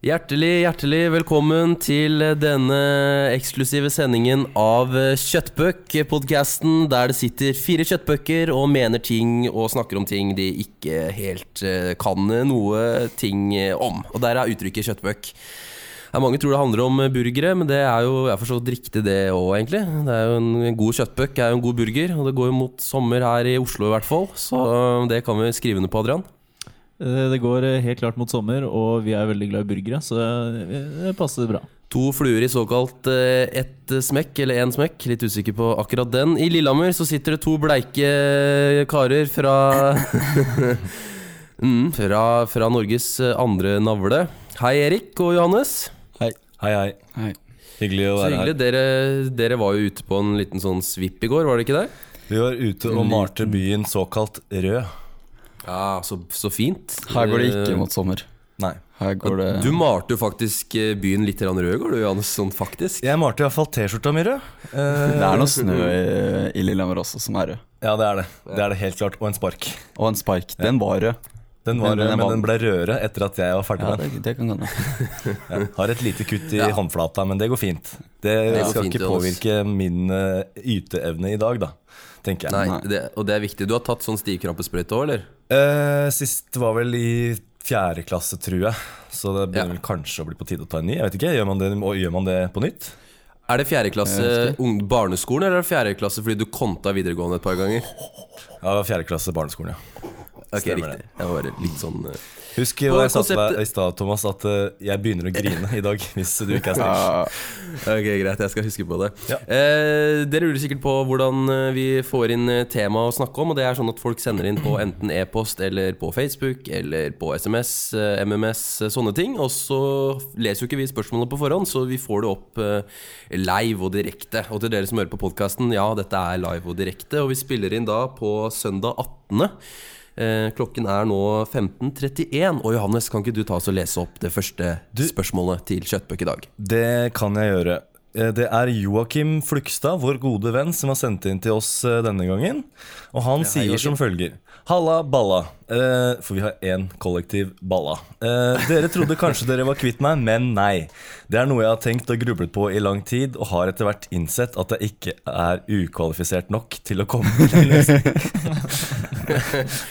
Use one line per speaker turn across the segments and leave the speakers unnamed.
Hjertelig, hjertelig velkommen til denne eksklusive sendingen av Kjøttbøk-podkasten, der det sitter fire kjøttbøker og mener ting og snakker om ting de ikke helt eh, kan noe ting om. Og der er uttrykket kjøttbøk. Ja, mange tror det handler om burgere, men det er jo jeg er for så vidt riktig det òg, egentlig. Det er jo en, en god kjøttbøk er jo en god burger, og det går jo mot sommer her i Oslo i hvert fall, så eh, det kan vi skrive under på, Adrian.
Eh, Det går eh, helt klart mot sommer, og vi er veldig glad i burgere, så eh, det passer bra.
To fluer i såkalt eh, ett smekk, eller én smekk. Litt usikker på akkurat den. I Lillehammer så sitter det to bleike karer fra mm, fra, fra Norges eh, andre navle. Hei, Erik og Johannes.
Hei. Hei, hei. Hyggelig å
Så
være
hyggelig. Dere, dere var jo ute på en liten sånn svipp i går, var det ikke det?
her. Vi var ute og malte byen såkalt rød.
Ja, så, så fint.
Her går det ikke
Eh,
mot sommer.
Nei.
Her går det
Du malte jo faktisk eh, byen litt grann rød, går du, Johannes? Sånn faktisk.
Jeg malte iallfall T-skjorta mi rød. Eh,
Det er noe snø i, i Lillehammer også, som er rød.
ja, det er det. Det er det helt klart. Og en spark.
Og en spark. Den var rød.
Den var
Men den
rød,
er
men
vann.
den ble rødere etter at jeg var ferdig
Ja,
med den.
det, det kan hende.
Har et lite kutt i
Ja.
håndflata, men det går fint. Det
går
skal
fint,
ikke
Johannes.
påvirke min eh, yteevne i dag, da. Tenker jeg.
Nei, det, og det er viktig. Du har tatt sånn stivkrampesprøyte òg, eller?
Eh, sist var vel i fjerde klasse, tror jeg. Så det
Ja.
begynner vel kanskje å bli på tide å ta en ny. Jeg vet ikke, Gjør man det, og gjør man det på nytt?
Er det fjerde klasse ung- barneskolen, eller er det fjerde klasse fordi du konta videregående et par ganger?
Ja, det var fjerde klasse barneskolen, ja.
Ok,
Stemmer
riktig. Jeg var litt sånn eh,
Husk
På
hva jeg sa til
konseptet-
deg i stad, Thomas, at eh, jeg begynner å grine i dag. Hvis du ikke er snill.
Ja,
Ok, Greit, jeg skal huske på det.
Ja.
Eh, dere lurer sikkert på hvordan eh, vi får inn eh, tema å snakke om. Og det er sånn at folk sender inn på enten e-post eller på Facebook eller på SMS, eh, MMS, eh, sånne ting. Og så leser jo ikke vi spørsmålene på forhånd, så vi får det opp eh, live og direkte. Og til dere som hører på podkasten, ja, dette er live og direkte. Og vi spiller inn da på søndag 18. Eh, klokken er nå 15.31. Og Johannes, kan ikke du ta oss og lese opp det første spørsmålet til Kjøttbøk i dag?
Det kan jeg gjøre. Eh, Det er Joakim Flugstad, vår gode venn, som har sendt inn til oss eh, denne gangen. Og han sier som følger Halla, balla. Eh, For vi har én kollektiv balla. Eh, Dere trodde kanskje dere var kvitt meg, men nei. Det er noe jeg har tenkt og grublet på i lang tid, og har etter hvert innsett at jeg ikke er ukvalifisert nok til å komme til en løsning.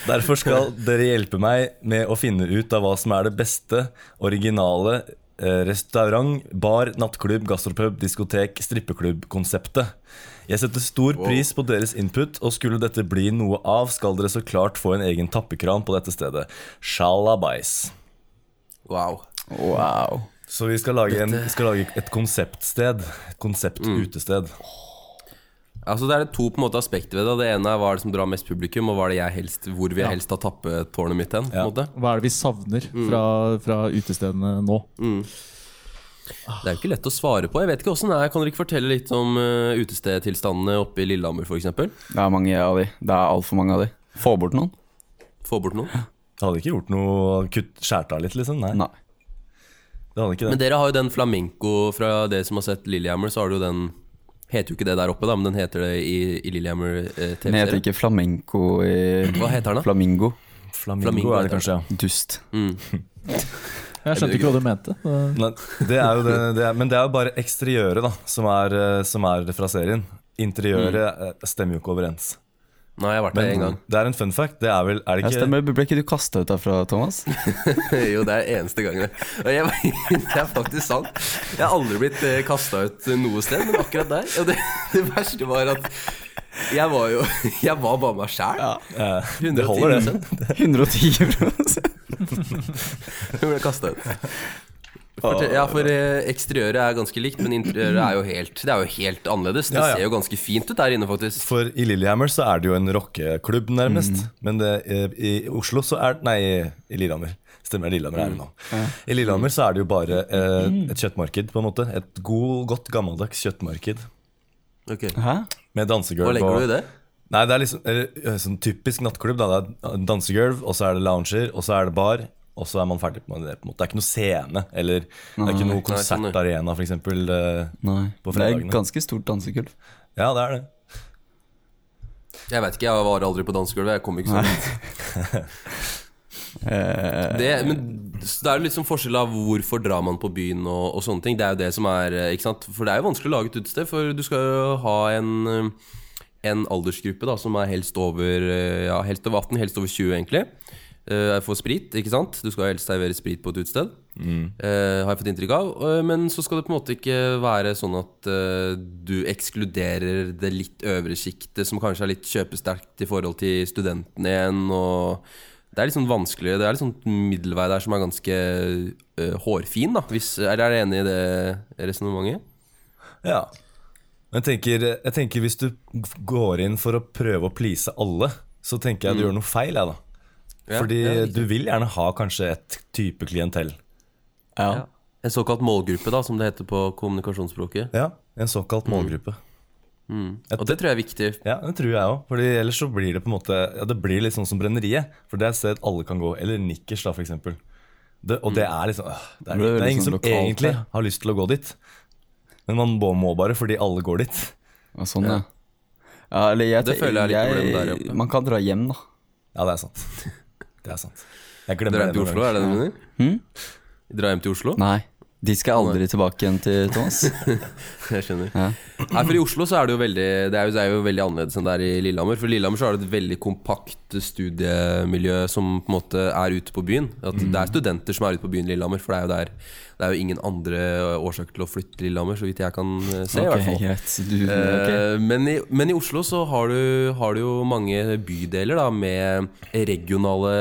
Derfor skal dere hjelpe meg med å finne ut av hva som er det beste, originale eh, restaurant, bar, nattklubb, gastropub, diskotek, strippeklubb-konseptet. Jeg setter stor pris på deres input, og skulle dette bli noe av, skal dere så klart få en egen tappekran på dette stedet. Shalabais.
Wow.
wow.
Så vi skal lage, en, vi skal lage et konseptsted. Et Mm. konsept-utested.
Altså Det er det to på en måte aspekter ved det. Det ene er hva er det som drar mest publikum, og hva er det jeg helst, hvor vil jeg helst ha tappetårnet mitt hen. På en
Ja.
måte.
Hva er det vi savner
Mm.
fra, fra utestedene nå?
Det er jo ikke lett å svare på. Jeg vet ikke hvordan det er. Kan dere ikke fortelle litt om uh, utestedtilstandene oppe i Lillehammer f.eks.?
Det er mange av de. Det er altfor mange av de. Få bort noen?
Få bort noen.
Det hadde ikke gjort noe kutt skjært av litt, liksom? Nei.
Nei.
Det hadde ikke
Men
det.
dere har jo den flamenco fra dere som har sett Lillehammer, så har du jo den Heter jo ikke det der oppe, da, men den heter det i, i Lillehammer eh,
Den heter
TV-serie.
ikke flamenco i
Hva heter den, da? Mm.
Flamingo.
Flamingo,
Flamingo
er det kanskje, ja.
Dust.
Jeg skjønte ikke hva du mente. Eh,
Nei, det er jo det, det er, men det er jo bare eksteriøret da, som er, eh, som er fra serien. Interiøret eh, stemmer jo ikke overens.
Nei, jeg har vært der én
Men
Mm. gang.
det er en fun fact. Det er vel Er det
Ja,
ikke
stemmer. Ble ikke du kasta ut derfra, Thomas?
jo, det er eneste gangen. Og jeg, det er faktisk sant. Jeg har aldri blitt kasta ut noe sted, men akkurat der. Og det, det verste var at jeg var jo Jeg var bare meg sjæl.
Eh, det holder, det.
110
Jeg ble kasta ut. Fortell, ja, for eh, eksteriøret er ganske likt, men interiøret er jo helt Det er jo helt annerledes. Det
Ja, ja.
ser jo ganske fint ut der inne, faktisk.
For i Lillehammer så er det jo en rockeklubb, nærmest.
Mm.
Men det, eh, i Oslo så er Nei, i Lillehammer. Stemmer, Lillehammer er det nå. I Lillehammer så er det jo bare eh, et kjøttmarked, på en måte. Et god, godt gammeldags kjøttmarked.
Hæ?
Med dansegulv
Hva legger du i det?
Nei, det er liksom eller, eh, sånn typisk nattklubb. Da. Det er dansegulv, og så er det lounger, og så er det bar. Og så er man ferdig med det. på en måte Det er ikke noe scene, eller det er ikke noe
sånn,
konsertarena, f.eks.
Nei.
På
Det er
fredagene.
ganske stort dansegulv.
Ja, det er det.
Jeg vet ikke, jeg var aldri på dansegulvet. Jeg kom ikke så langt.
Eh,
Det, men det er jo litt sånn forskjell av hvorfor drar man på byen og, og sånne ting. Det er jo det som er eh, ikke sant? For det er jo vanskelig å lage et utested, for du skal jo ha en eh, En aldersgruppe da som er helst over eh, Ja, helst over 18, helst over 20, egentlig. Eh, For sprit, ikke sant? Du skal helst servere sprit på et utested. Eh, har jeg fått inntrykk av. Eh, men så skal det på en måte ikke være sånn at eh, du ekskluderer det litt øvre sjiktet, som kanskje er litt kjøpesterkt i forhold til studentene igjen. Og det er litt sånn vanskelig. Det er litt sånn middelvei der som er ganske eh, hårfin, da. Hvis, er dere enig i det resonnementet?
Ja. Jeg tenker, eh, jeg tenker hvis du går inn for å prøve å please alle, så tenker jeg du gjør noe feil, jeg, da.
Mm. Ja,
Fordi
ja,
du vil gjerne ha kanskje et type klientell.
ja.
En såkalt målgruppe, da, som det heter på kommunikasjonsspråket.
Ja, en såkalt målgruppe.
Og det tror jeg er viktig.
Ja, det tror jeg òg. Fordi ellers så blir det på en måte Ja, det blir litt sånn som brenneriet. For det er et sted alle kan gå. Eller Nikkers, da, for eksempel. Det, og det er liksom øh, Det er,
Det blir
det er
veldig
ingen
sånn
som
lokalt,
egentlig
ja.
har lyst til å gå dit. Men man må- må bare fordi alle går dit.
Ja, Sånn, ja. ja eller jeg,
Det føler jeg er litt problem der oppe.
Man kan dra hjem, da.
Ja, det er sant. Det er sant. Jeg
Dra
glemmer
hjem til Oslo, er det det du mener?
Hm?
Dra hjem til Oslo?
Nei. De skal aldri tilbake igjen til Thomas.
Jeg skjønner.
Ja.
Nei, for I Oslo så er det jo veldig Det er jo, det er jo veldig annerledes enn det er i Lillehammer. For i Lillehammer så er det et veldig kompakt studiemiljø som på en måte er ute på byen. At Det er studenter som er ute på byen i Lillehammer, for det er jo der Det er jo ingen andre årsaker til å flytte til Lillehammer, så vidt jeg kan eh, se. i
Ok,
hvert fall
greit. Du, ok.
Eh, Men, i, men i Oslo så har du, har du jo mange bydeler da, med regionale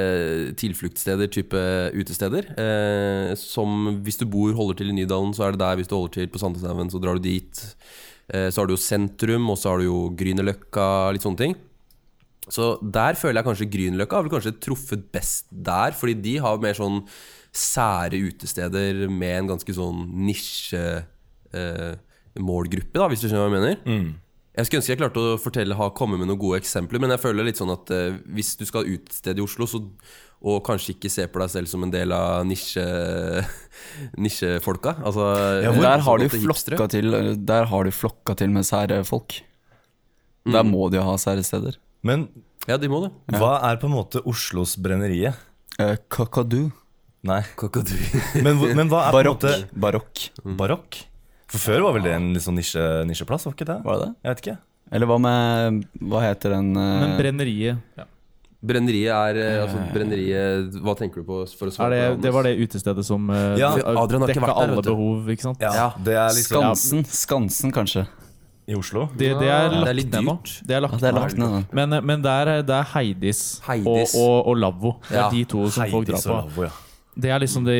eh, tilfluktssteder, type utesteder. Eh, som hvis du bor, holder til i Nydalen, så er det der. Hvis du holder til på Sandneshaugen, så drar du dit. Eh, så har du jo sentrum, og så har du jo Grünerløkka, litt sånne ting. Så der føler jeg kanskje Grünerløkka har vel kanskje truffet best der, fordi de har mer sånn sære utesteder med en ganske sånn nisje-målgruppe, da, hvis du skjønner hva jeg mener.
Mm.
Jeg skulle ønske jeg klarte å fortelle, ha komme med noen gode eksempler, men jeg føler litt sånn at eh, hvis du skal ut et sted i Oslo, så, og kanskje ikke se på deg selv som en del av nisje, nisjefolka altså,
der har de
sånn at hipstere-
flokka til eh, Der har de flokka til med sære folk. Der må de jo ha sære steder.
Men
Ja, de må det.
hva er på en måte Oslos brenneriet?
Uh, Kakadu.
Nei.
Kakadu.
Men, hvor- men hva er
Barokk.
på en måte
Barokk.
Barokk? For før var vel det en litt sånn nisje, nisjeplass, var ikke det?
Var det det?
Jeg vet ikke.
Eller hva med Hva heter den eh,
Men brenneriet
Brenneriet er eh, Altså, brenneriet Hva tenker du på for å svare
er det,
på Anders?
det var det utestedet som eh,
Ja,
Adrian har ikke
dekka
vært der,
alle
vet du.
behov, ikke sant?
Ja, Det er liksom
Skansen? Skansen, kanskje.
i Oslo.
Det, det
Ja,
er
det er
lagt
litt
ned nå.
dyrt.
Det er lagt
Ja, det er lagt ned, da.
Men, eh, men der, er- det er Heidis,
Heidis.
Og, og, og Lavvo. Det er
Ja,
de to som folk drar
Heidis
på.
og Lavo, ja.
Det er liksom de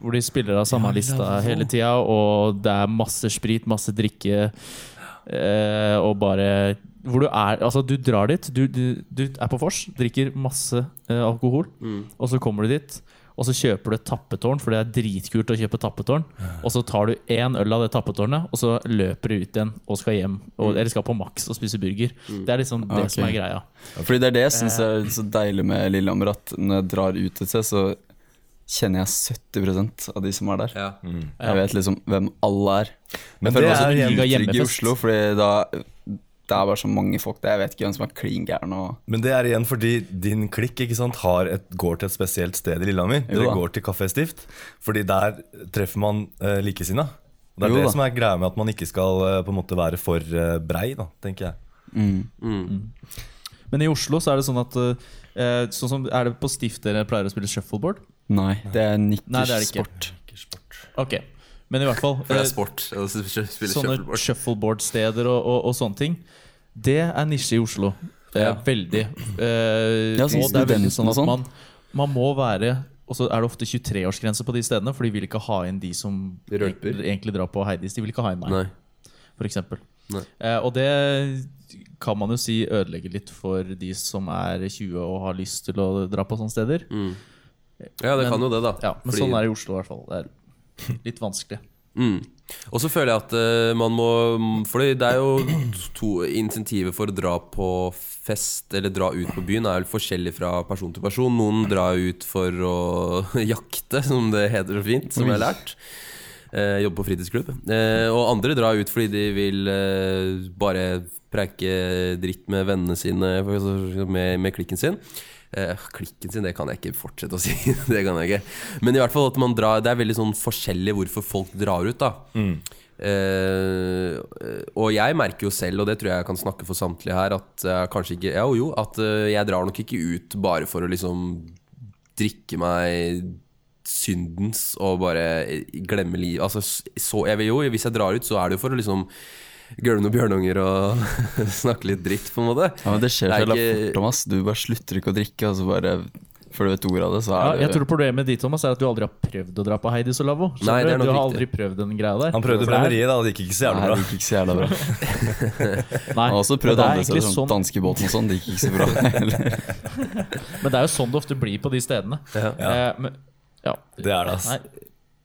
hvor de spiller av samme lista hele tida, og det er masse sprit, masse drikke, eh, og bare hvor du er, altså du drar dit, du, du, du er på vors, drikker masse eh, alkohol, og så kommer du dit, og så kjøper du et tappetårn, for det er dritkult å kjøpe tappetårn. Og så tar du én øl av det tappetårnet, og så løper du ut igjen og skal hjem. Og, eller skal på Max og spise burger. Det er liksom det
Ok.
som er greia.
Fordi det er det jeg syns er så deilig med Lillehammer, at når jeg drar ut et sted, så kjenner jeg 70 av de som er der.
ja.
Eh,
Jeg vet liksom hvem alle er.
Men
jeg føler
det er
meg også
liga
utrygg i
hjemmefest.
Oslo, fordi da det er bare så mange folk der. Jeg vet ikke hvem som er klin gæren. og-
Men det er igjen fordi din klikk ikke sant, har et, går til et spesielt sted i Lillehammer.
Jo
Dere
da.
går til Kafé Stift, fordi der treffer man uh, likesinna. Og Det er
Jo
det
da.
som er greia med at man ikke skal eh, på en måte være for eh, brei, da, tenker jeg.
Men i Oslo så er det sånn at eh, sånn som, Er det på Stift dere pleier å spille shuffleboard?
Nei, det er
Nei, det er det ikke.
nikkersport.
Ok, men i hvert fall
For det
eh,
er sport å s- s- spille
Sånne
shuffleboard.
shuffleboard-steder og, og, og sånne ting Det er nisje i Oslo Det er
Ja.
veldig eh,
Ja, sånn
Og det er veldig sånn
studenten og
at
sånn.
man, man må være Og så er det ofte 23-årsgrense på de stedene For de vil ikke ha inn de som
Rølper.
egentlig- egentlig drar på Heidis De vil ikke ha inn meg,
Nei.
for eksempel
Nei.
Eh, Og det kan man jo si ødelegger litt for de som er 20 og har lyst til å dra på sånne steder
Ja, det
Men-
kan jo det, da.
Ja, men
Mm. Fordi-
sånn er det i Oslo i hvert fall Det er litt vanskelig
Mm. Og så føler jeg at eh, man må Fordi det er jo to insentiver for å dra på fest eller dra ut på byen er vel forskjellig fra person til person. Noen drar ut for å jakte, som det heter så fint, som jeg har lært. Eh, jobbe på fritidsklubb. Eh, og andre drar ut fordi de vil eh, bare preike dritt altså, med vennene sine, for- med, med klikken sin. eh, klikken sin, det kan jeg ikke fortsette å si. det kan jeg ikke. Men i hvert fall at man drar Det er veldig sånn forskjellig hvorfor folk drar ut, da. Eh, og jeg merker jo selv, og det tror jeg jeg kan snakke for samtlige her, at jeg kanskje ikke Ja, jo, at eh, jeg drar nok ikke ut bare for å liksom drikke meg syndens og bare glemme livet. Altså, så jeg vil jo, hvis jeg drar ut, så er det jo for å liksom Gulve noen bjørnunger og snakke litt dritt, på en måte.
Ja, men Det skjer
Det
så
er
jævla
ikke-
fort, Thomas. Du bare slutter ikke å drikke, og så bare før du vet ordet av det, så
Ja,
er
jeg
det
tror problemet med de, Thomas, er at du aldri har prøvd å dra på Heidi Solavo. Skjønner
Nei, det er
du?
nok
du har
riktig.
aldri prøvd den greia der.
Han prøvde
For det er-
brenneriet, da. Det gikk ikke så
Nei,
jævlig
det
bra.
gikk ikke så jævla bra.
Nei,
Han har også prøvd
men det er
andre steder,
egentlig
sånn danskebåten og sånn. Det gikk ikke så bra heller.
Men det er jo sånn det ofte blir på de stedene.
Ja.
Eh, men, ja.
Det er det, ass.
Nei,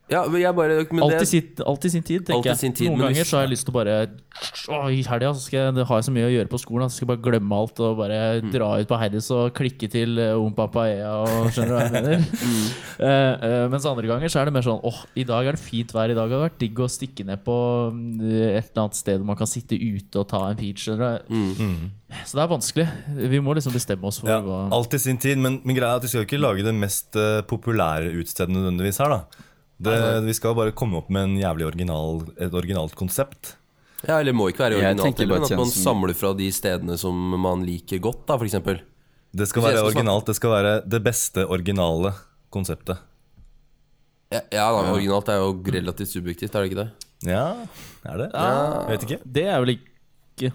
Ja, men jeg bare men
alt, i
det,
sitt, alt i sin tid, tenker
Alt i sin
jeg.
tid,
Noen
men
ganger
hvis-
så har jeg lyst til å bare å, I helga så skal jeg, det har jeg så mye å gjøre på skolen, at jeg skal bare glemme alt og bare
Mm.
dra ut på Heidis og klikke til eh, Om Papaea og skjønner du hva jeg mener?
Mm.
Eh, eh, mens andre ganger så er det mer sånn åh, i dag er det fint vær, i dag har det vært digg å stikke ned på mm, et eller annet sted hvor man kan sitte ute og ta en peach, skjønner du.
Mm.
Så det er vanskelig. Vi må liksom bestemme oss for
Ja,
hva
alt i sin tid, men, men greia er at vi skal ikke lage det mest eh, populære utestedet nødvendigvis her, da. Det, vi skal bare komme opp med en jævlig original, et originalt konsept.
ja, eller må ikke være
Jeg
originalt,
tenker bare
eller, men at man
tjenesten-
samler fra de stedene som man liker godt, da, f.eks.
Det skal
Så jeg
være
skal
originalt, det skal være det beste originale konseptet.
Ja, ja, da, men originalt er jo relativt subjektivt, er det ikke det?
Ja, er det? Ja. Vet ikke.
Det er vel ikke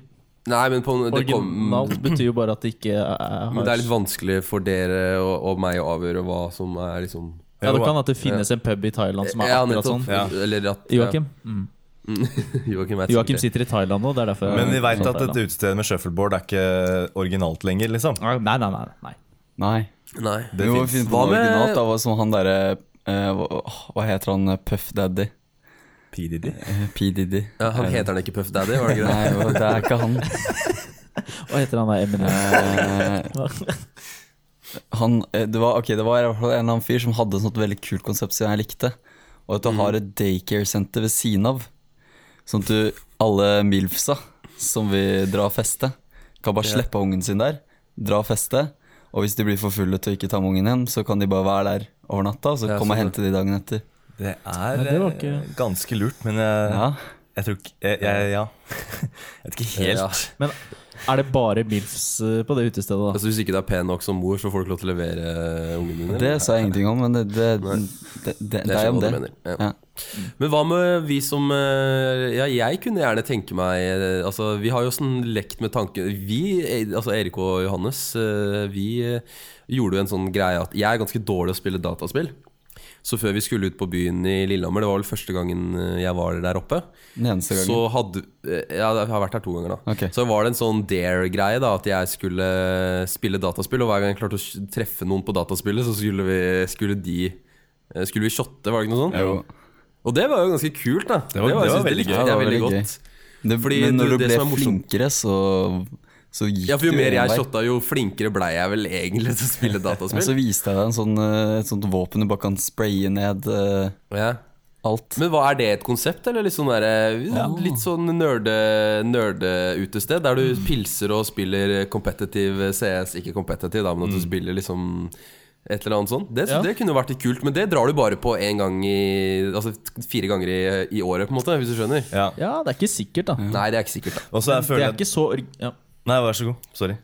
Nei, men på, det, kom,
Originalt betyr jo bare at det ikke er
men det er litt vanskelig for dere og, og meg å avgjøre hva som er liksom
Ja, det kan at det finnes en pub i Thailand som er
Ja,
akkurat
nettopp.
sånn.
Ja.
Eller at ja.
Joakim? Mm.
Joakim, er et
Joakim
sikkert-
sitter i Thailand nå, det er derfor
Men vi
jeg-
veit
sånn
at et
Thailand. Ah,
utested med shuffleboard er ikke originalt lenger, liksom.
Nei, nei, nei. nei.
Nei.
Nei.
Det
Vi må
finnes.
finne på
Hva
noe
med-
originalt. Da, hva som han derre eh, hva, hva heter han? eh, Puff Daddy?
PDD.
Eh, P. Diddy.
Ja, han heter han ikke Puff Daddy, var det ikke det?
Nei, hva- det er ikke han.
Hva heter han der Eminem?
Eh, han eh, det var, ok, det var i hvert fall en eller annen fyr som hadde et sånt veldig kult konsept som jeg likte.
Mm.
Og at du har et daycare-senter ved siden av. Sånn at du, alle milfsa som vil dra og feste, kan bare slippe ungen sin der. Dra og feste. Og hvis de blir for fulle til å ikke ta med ungen hjem, så kan de bare være der over natta, og så
Ja,
komme
sånn, ja.
og hente de dagen etter.
Det er
Nei, det var
eh,
ikke-
ganske lurt, men jeg,
Ja.
jeg tror ikke jeg, jeg, Ja. Jeg vet ikke helt.
Ja.
Men er det bare MILFs eh, på det utestedet, da?
Altså, hvis ikke du er pen nok som mor, så får du ikke lov til å levere eh, ungen din? eller?
Det sa jeg ingenting om, men det, det, det, det, det,
Jeg
er
skjønner
jo
hva
det.
du mener. Ja.
Ja.
Men hva med vi som eh, Ja, jeg kunne gjerne tenke meg eh, Altså, vi har jo sånn lekt med tanken Vi, eh, altså Erik og Johannes, eh, vi eh, gjorde jo en sånn greie at Jeg er ganske dårlig å spille dataspill. Så før vi skulle ut på byen i Lillehammer, det var vel første gangen eh, jeg var der oppe,
Den eneste gangen.
så hadde eh, Ja, jeg har vært her to ganger, da.
Ok.
Så var det en sånn dare-greie, da at jeg skulle spille dataspill. Og hver gang jeg klarte å sk- treffe noen på dataspillet, så skulle vi, skulle de eh, Skulle vi shotte, var det ikke noe sånt?
Jo.
Og det var jo ganske kult, da. Det
var- det
jeg
var
synes
veldig
likte
gøy.
jeg
Ja, det var
veldig
veldig
godt.
Det,
Fordi
men
det-
når du
det
ble
som er morsomt-
flinkere, så, så gikk
Ja, for jo
det
mer
en
jeg
vei.
shotta, jo flinkere blei jeg vel egentlig til å spille
Men så
dataspill.
viste jeg deg en sånn, eh, et sånt våpen du bare kan spraye ned eh,
Ja.
alt.
Men hva er det et konsept, eller litt sånn derre Litt sånn nerde- nerdeutested, der du
Mm.
pilser og spiller competitive CS, ikke competitive, da, men at du spiller liksom et eller annet sånt. Det,
Mm. Ja.
det kunne jo vært litt kult, men det drar du bare på én gang i Altså fire ganger i, i året, på en måte, hvis du skjønner.
Ja.
Ja, det er ikke sikkert, da.
Nei, det er ikke sikkert, da.
Og så jeg
Det er
føler jeg
ikke så org- ja.
Nei, vær så god. Sorry.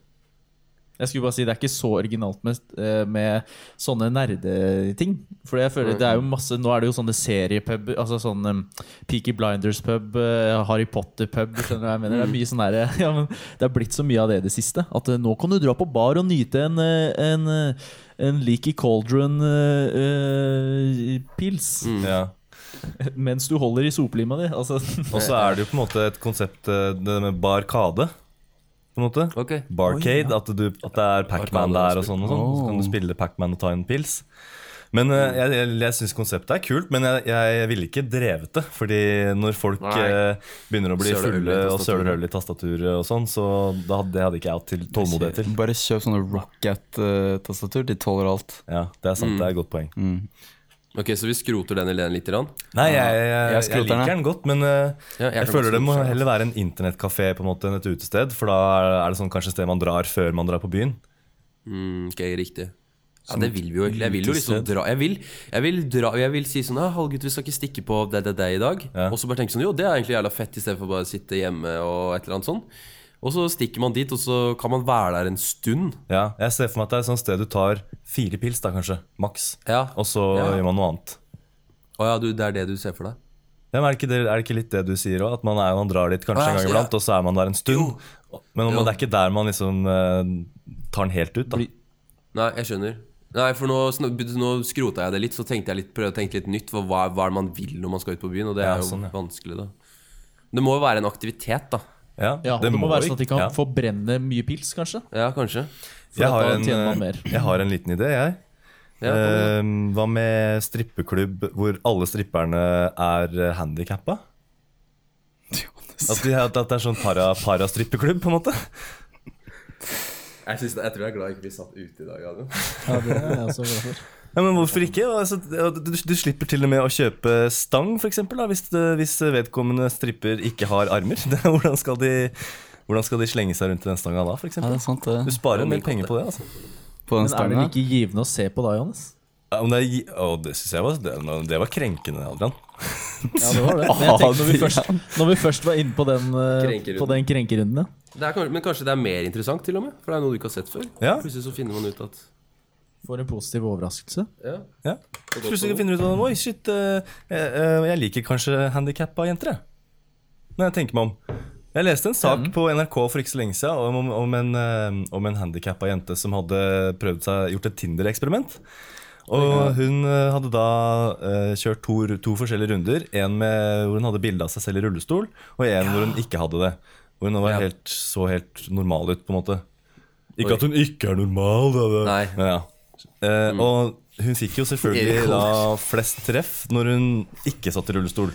Jeg skulle bare si det er ikke så originalt med, eh, med sånne nerdeting. For jeg føler det er jo masse Nå er det jo sånne seriepuber, altså sånn um, Peaky Blinders-pub, eh, Harry Potter-pub, skjønner du hva jeg mener? Det er mye sånn her, ja, men det er blitt så mye av det i det siste. At eh, nå kan du dra på bar og nyte en, eh, en, eh, en leaky eh, cauldron-pils
Ja.
mens du holder i sopelima di. Altså,
Og så er det jo på en måte et konsept eh, det med barkade. På en måte.
Ok.
Barcade. At, du, at det er Pacman
Arcade,
der
spill.
og sånn. Og sånn. Så kan du spille Pacman og ta en pils. Men eh, jeg, jeg, jeg syns konseptet er kult, men jeg, jeg ville ikke drevet det. Fordi når folk eh, begynner å bli
Søler øl i
fulle og
tastaturet.
søler øl i tastaturet og sånn, så da hadde, det hadde ikke jeg hatt til tålmodighet til.
Bare kjøp sånne Rocket-tastatur. De tåler alt.
Ja, det er sant.
Mm.
Det er et godt poeng.
Ok, Så vi skroter den ideen litt? Grann.
Nei, jeg, jeg, jeg,
skroter den,
liker
jeg.
den godt, men eh,
Ja, jeg
jeg,
kan også
føler det må
like den.
heller være en internettkafé på en måte enn et utested. For da er- er det sånn kanskje et sted man drar før man drar på byen.
Mm, ok, riktig. Ja, det vil vi jo egentlig. Jeg vil jo liksom dra Jeg vil, jeg vil, dra, jeg vil si sånn «Ja, 'Halvgutt, vi skal ikke stikke på det, det, det i dag.' Og så bare tenke sånn 'Jo, det er egentlig jævla fett', istedenfor bare å sitte hjemme og et eller annet sånn. Og så stikker man dit, og så kan man være der en stund.
Ja, jeg ser for meg at det er et sånt sted du tar fire pils, da kanskje, maks.
Ja.
Og så
Ja.
gjør man noe annet.
Å ja, du, det er det du ser for deg?
Ja, men er, det ikke det, er det ikke litt det du sier òg? At man, er, man drar dit kanskje
Å, ja,
en
så-
gang
ja.
iblant, og så er man der en stund. Men om
Jo.
det er ikke der man liksom eh, tar den helt ut, da.
Bli-
Nei, jeg skjønner. Nei, for nå, sn- nå skrota jeg det litt, så tenkte jeg litt, prøvde å tenke litt nytt. For hva, hva er det man vil når man skal ut på byen? Og det
Ja,
er jo
sånn, ja.
vanskelig, da. Det må jo være en aktivitet, da.
Ja,
Ja, det, må være
jo-
sånn at de kan
ja.
forbrenne mye pils, kanskje.
Ja, kanskje.
For
jeg
at
har,
da
en,
tjener man mer.
eh, jeg har en liten idé, jeg.
Ja, kan
Eh, hva med strippeklubb hvor alle stripperne er handikappa? At, de, at det er sånn para- parastrippeklubb, på en måte?
du- jeg, synes, jeg tror jeg er glad ikke vi satt ute i dag, Adrian.
Ja, det er jeg også glad for.
Ja, men hvorfor ikke? Altså, du, du slipper til og med å kjøpe stang, for eksempel, da, hvis, det- hvis vedkommende stripper ikke har armer. Det, hvordan, skal de, hvordan skal de slenge seg rundt i den stanga da, for
Ja,
eksempel?
det er sant,
Du
det.
sparer en del penger på det, altså.
På den
Men er det
stanga.
ikke givende å se på da, Johannes?
Ja, men det, gi- å, det synes jeg var, det, det var krenkende, Adrian.
Ja, det var det. Men jeg tenkte når vi
Adrian.
først, når vi først var inne på den, eh,
Krenkerunden.
på den krenkerunden, ja.
Det er, kanskje- men kanskje det er mer interessant, til og med? For det er noe du ikke har sett før.
Ja.
Plutselig så finner man ut at
For en positiv overraskelse.
ja.
Ja. Plutselig finner du ut av Oi, shit, eh, eh, eh, jeg liker kanskje handikappa jenter, jeg. Når jeg tenker meg om. Jeg leste en sak
Mhm.
på NRK for ikke så lenge siden om, om, om en, eh, om en handikappa jente som hadde prøvd seg, gjort et Tinder-eksperiment. Og hun eh, hadde da eh, kjørt to, ru- to forskjellige runder. En med, hvor hun hadde bilde av seg selv i rullestol, og en hvor hun ikke hadde det. Hvor hun var helt, så helt normal ut, på en måte. Ikke
Oi.
at hun ikke er normal, da. da.
Nei.
Men ja. Eh,
Mm.
Og hun fikk jo selvfølgelig
Erik Holm.
da flest treff når hun ikke satt i rullestol.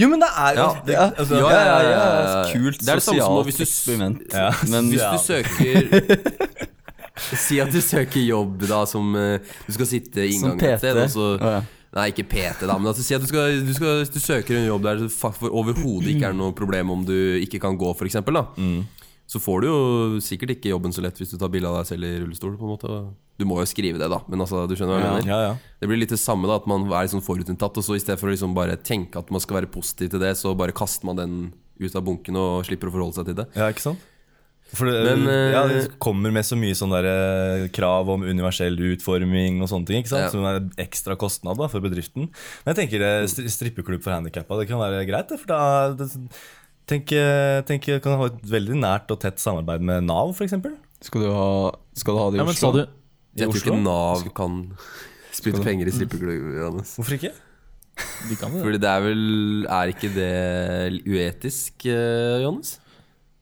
Jo, men det er jo
Ja,
det, altså,
ja,
ja, ja, ja.
ja.
Kult
Det er det samme som å-
sosialt
hvis du s-
eksperiment.
Ja.
Men
Hvis
Ja.
du søker Si at du søker jobb, da, som eh, Du skal sitte i
Som
inngangen et sted,
PT.
og så
Å, ja.
Nei, ikke PT, da, men altså, si at du, skal, du, skal, du søker en jobb der det fa- for overhodet ikke er noe problem om du ikke kan gå, f.eks., da.
Mm.
Så får du jo sikkert ikke jobben så lett hvis du tar bilde av deg selv i rullestol. på en måte og Du må jo skrive det, da, men altså, du skjønner hva jeg mener?
Ja, ja.
Det blir litt det samme, da, at man er liksom forutinntatt, og så i stedet for å liksom bare tenke at man skal være positiv til det, så bare kaster man den ut av bunken og slipper å forholde seg til det.
ja, ikke sant? For det,
Men, eh,
ja, det kommer med så mye sånn der, eh, krav om universell utforming og sånne ting. ikke sant?
Ja.
Som er en ekstra kostnad da, for bedriften. Men jeg tenker eh, stri- strippeklubb for handikappa, det kan være greit. Det, for da det, tenk, eh, tenk, jeg kan ha et veldig nært og tett samarbeid med Nav, f.eks.
skal, du ha, skal du ha det i
Ja, men sa
Oslo?
du
Jeg tror
Oslo?
ikke Nav kan spytte penger i strippeklubb, Johannes.
Hvorfor ikke?
De kan det.
Fordi det er vel Er ikke det uetisk, eh, Johannes?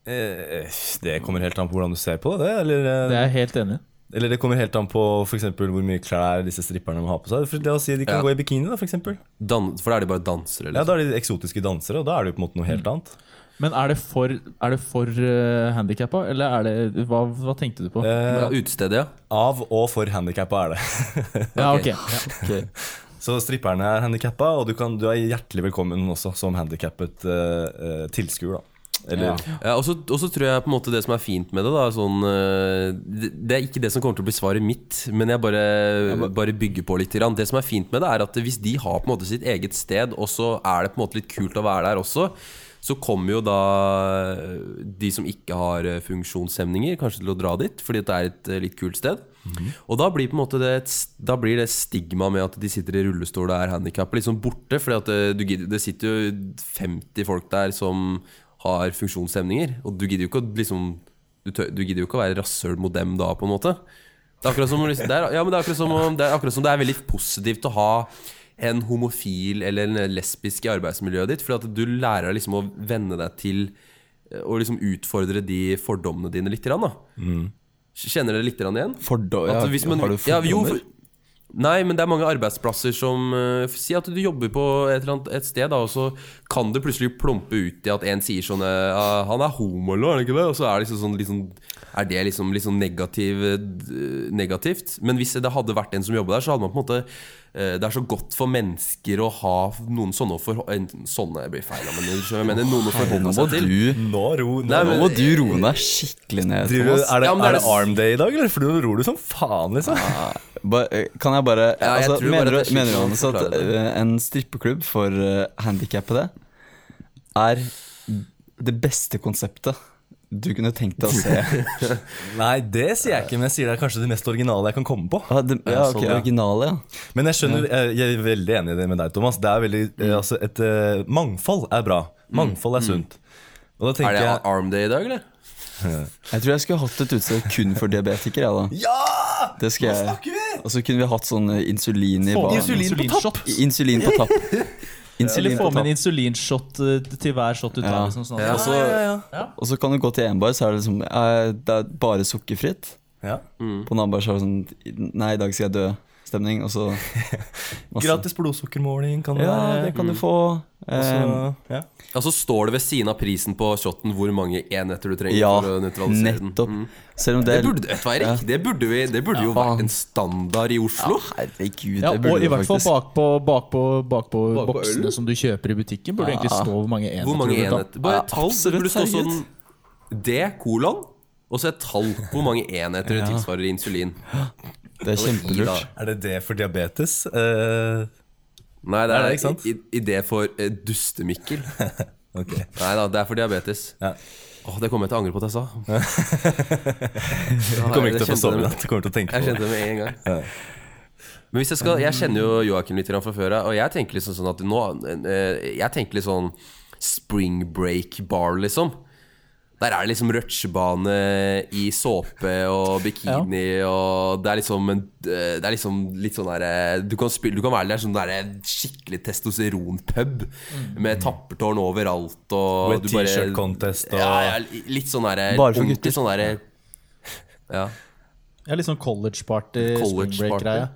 Eh, Det kommer helt an på hvordan du ser på det. Eller, eh,
Det er jeg helt enig i.
eller det kommer helt an på for eksempel, hvor mye klær disse stripperne må ha på seg. For det å si De kan
Ja.
gå i bikini, da, for eksempel.
Dan for da er de bare dansere, liksom.
Ja,
eller?
da er de eksotiske dansere, og da er det jo på en måte noe helt annet.
Men er det for, er det for eh, handikappa, eller er det Hva, hva tenkte du på?
Ja,
Eh,
Utestedet, ja.
av og for handikappa er det.
ja,
ok.
ok. Ja.
Ok.
Så stripperne er handikappa, og du, kan, du er hjertelig velkommen også som handikappet eh, eh, tilskuer, da. Eller
ja og så og så tror jeg på en måte det som er fint med det, da er sånn eh, Det det er ikke det som kommer til å bli svaret mitt, men jeg bare, bare bygger på litt. Grann. Det som er fint med det, er at hvis de har på en måte sitt eget sted, og så er det på en måte litt kult å være der også, så kommer jo da de som ikke har eh, funksjonshemninger, kanskje til å dra dit, fordi at det er et eh, litt kult sted. Og da blir på en måte det, et s- Da blir det stigma med at de sitter i rullestol og er handikappa, liksom borte. For det sitter jo 50 folk der som har funksjonshemninger, og du gidder jo ikke å liksom Du, tør, du gidder jo ikke å være rasshøl mot dem da, på en måte. Det er akkurat som, om liksom, det, er, ja, men det, er akkurat som om, det er akkurat som det er veldig positivt å ha en homofil eller en lesbisk i arbeidsmiljøet ditt, fordi at du lærer deg liksom å venne deg til eh, å liksom utfordre de fordommene dine litt. grann, Da. Kjenner dere litt grann igjen?
Fordom, ja,
At hvis man,
har du
ja,
fordommer?
jo, for- Nei, men det er mange arbeidsplasser som eh, Si at du jobber på et, eller annet, et sted, da, og så kan det plutselig plumpe ut i at en sier sånn eh, «Ah, 'Han er homo, eller noe, er han ikke det?' Og så er det liksom sånn litt sånn- Er det liksom litt sånn negativ, eh, d- negativt? Men hvis det hadde vært en som jobba der, så hadde man på en måte eh, det er så godt for mennesker å ha noen sånne å forho- eh, Sånne blir feil, men du skjønner hva jeg mener noen å
Nå
forholde
må
seg til.
altså, du,
Nå ro nå
Nei,
nå
men-
ro.
må du roe deg skikkelig ned,
Driver du,
Thomas.
er det,
Ja, men det
er
er
det
det-
arm day i dag, eller? For du ror du som faen, liksom.
Ba, eh, kan jeg bare
Ja, jeg tror
altså,
bare
Mener
at det
du
er
mener du,
slik man
Anders, at
forklarer det.
eh, en strippeklubb for uh, handikappede er det beste konseptet du kunne tenkt deg å se?
Nei, det sier jeg ikke, men jeg sier det er kanskje det mest originale jeg kan komme på.
Ah, det, ja,
Jeg så
ok,
det.
originale, ja.
Men jeg skjønner, jeg, jeg er veldig enig i det med deg, Thomas. Det er veldig,
Mm.
eh, altså et eh, Mangfold er bra. Mangfold er sunt. Og da
Er
tenker
det
jeg
Arm Day i dag, eller?
Jeg tror jeg skulle hatt et utested kun for diabetikere. Ja, da.
Ja!
Det skal jeg.
Snakker vi!
Og så kunne vi hatt sånn eh, insulin i
Få
baren.
Insulin på
insulinshot.
topp!
Insulin på tapp.
Eller
Insulin
få
på
med en
tapp.
insulinshot eh, til hver shot du tar.
Ja.
Liksom, sånn.
Ja, altså,
at-
og så-
Og så kan du gå til en bar, så er det liksom eh, Det er bare sukkerfritt.
Ja.
På en annen bar så er det sånn Nei, i dag skal jeg dø. Stemning. Og så masse.
Gratis blodsukkermåling kan det
Ja,
være.
det kan
mm.
du få.
Og
Eh,
Um,
så- ja.
Ja, så står det ved siden av prisen på shotten hvor mange enheter du trenger
ja,
for å nøytralisere den.
nettopp.
Mm.
Selv om det
Det
er
burde, vet du hva, Erik? Det burde, vi, det burde jo
Ja.
vært en standard i Oslo.
Herregud,
Ja,
det burde
og i
det
hvert fall
faktisk.
bakpå bak bak
Bakpå
boksene
ølen?
som du kjøper i butikken, burde egentlig stå hvor mange enheter
Hvor mange
du burde ta.
enheter? Bare
Ja,
et tall. Det
absolutt,
burde stå
herregud.
sånn D, kolon, og så et tall på hvor mange enheter det tilsvarer i insulin.
Det er kjempelurt.
Er det det for diabetes? Eh,
Nei, det
Nei,
er
det er ikke sant.
i- i- idé for eh, dustemikkel.
ok.
Nei da, det er for diabetes.
Ja.
Åh, det kommer jeg til å angre på at jeg sa.
Du kommer ikke til å få
Jeg kjente
sove i
det med-
natt. Du kommer til å tenke
Jeg
på det.
kjente det med en gang. Men hvis jeg skal Jeg kjenner jo Joakim litt grann fra før av, og jeg tenker liksom sånn at nå eh, Jeg tenker litt sånn spring break bar, liksom. Der er det liksom rutsjebane i såpe og bikini, og det er liksom en Det er liksom litt sånn derre Du kan spille Du kan være der sånn derre skikkelig testosteronpub
Mm.
med tappertårn overalt, og
Wet
du bare-
t-shirt contest og-
ja, ja, litt sånn derre
Bare for
ordentlig
gutter.
Sånn derre Ja.
Ja, litt sånn college party,
College
spring break-greie.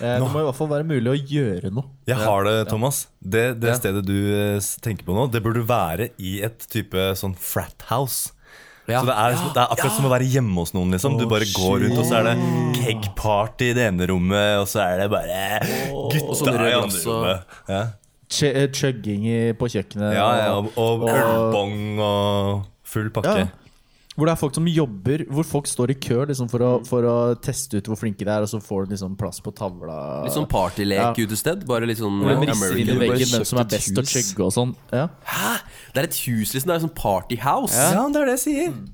Eh, det må i hvert fall være mulig å gjøre noe.
Jeg har det, Thomas. Det, det stedet du eh, s- tenker på nå, det burde være i et type sånn frat house.
Ja.
Så det er, det er akkurat som å være hjemme hos noen. liksom Du bare går rundt, og så er det keg-party i det ene rommet, og så er det bare
sånn
gutta
rød
i andre
glass og-
rommet. Ja,
Ch eh, chugging i- på kjøkkenet.
ja, ja
og-
Og, og ølbong og full
ja.
pakke.
Hvor det er folk som jobber Hvor folk står i kø liksom, for, å, for å teste ut hvor flinke de er, og så får du liksom plass på tavla.
Litt sånn partylek
Ja.
utested. Bare litt sånn
Hvor de
eh,
risser inn i
American
bare
veggen hvem som er
kjøpt et
best til å
hus.
chugge og sånn. Ja.
Hæ? Det er et hus, liksom. Det er en sånn partyhouse.
Ja, det er det jeg sier.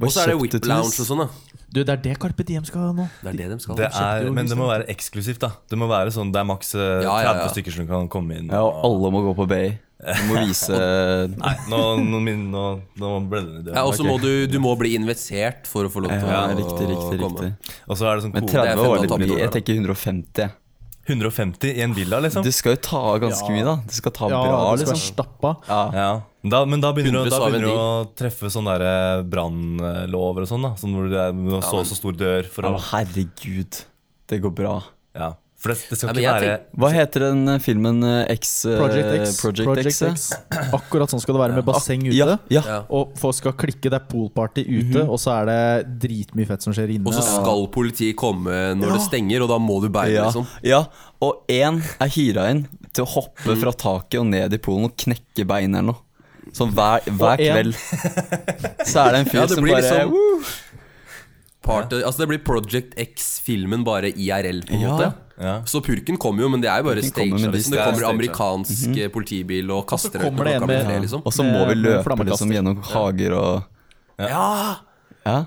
Og så er det
Kjøpt et
Whip
hus.
Lounge og sånn, da.
Du, det er det Carpe Diem skal ha nå.
Det er det de skal.
Det
ha.
er, men det må være eksklusivt, da. Det må være sånn Det er maks eh,
Ja, ja, ja.
30 stykker som kan komme inn.
Ja, og alle må gå på Bay. Du må vise
Nei, nå, nå, min, nå, nå ble det ned.
ja, og så må du, du må bli invitert for å få lov til
Ja,
å
riktig, riktig,
komme.
riktig.
Og så er det sånn
Men
kode.
30 år
Det er
litt
fem
mye.
år,
Jeg
da.
tenker 150. jeg.
150 i en villa, liksom.
Du skal jo ta ganske mye, da. Du skal ta
Ja,
bra,
det skal
liksom.
være stappa.
Ja. Da, men da begynner, du- da
Hundre sa
begynner du
vel
å treffe sånne der brannlover og sånn. da Sånn Hvor det er med så og så stor dør for
Å,
å
herregud. Det går bra.
ja. For det, det skal
Ja,
ikke
men
være
jeg
Hva heter den eh, filmen eh, X eh,
Project X.
Project X, ja?
Akkurat sånn skal det være med basseng ute.
Ja, ja.
Ja.
Og folk skal klikke, det er poolparty ute, og så er det dritmye fett som skjer inne.
Og så skal politiet komme når det stenger, og da må du bære,
Ja,
liksom.
ja. Og én er hyra inn til å hoppe fra taket og ned i poolen og knekke bein eller noe. Sånn hver,
Og
hver
en-
kveld. Så er det en fyr
Ja, det
som
blir
bare
liksom
Woo!
Part, altså Det blir Project X-filmen bare IRL, på en
Ja.
måte.
Ja.
Så purken kommer jo, men det er jo bare
Purken
staged.
kommer, men de
Liksom. Det
skal-
kommer amerikansk
Mhm.
eh, politibil og kaster
kommer
øl
det en
klokka blir
med-
tre, liksom.
Og så må vi
Med
løpe
flammekaster.
liksom gjennom hager og
Ja!
Ja.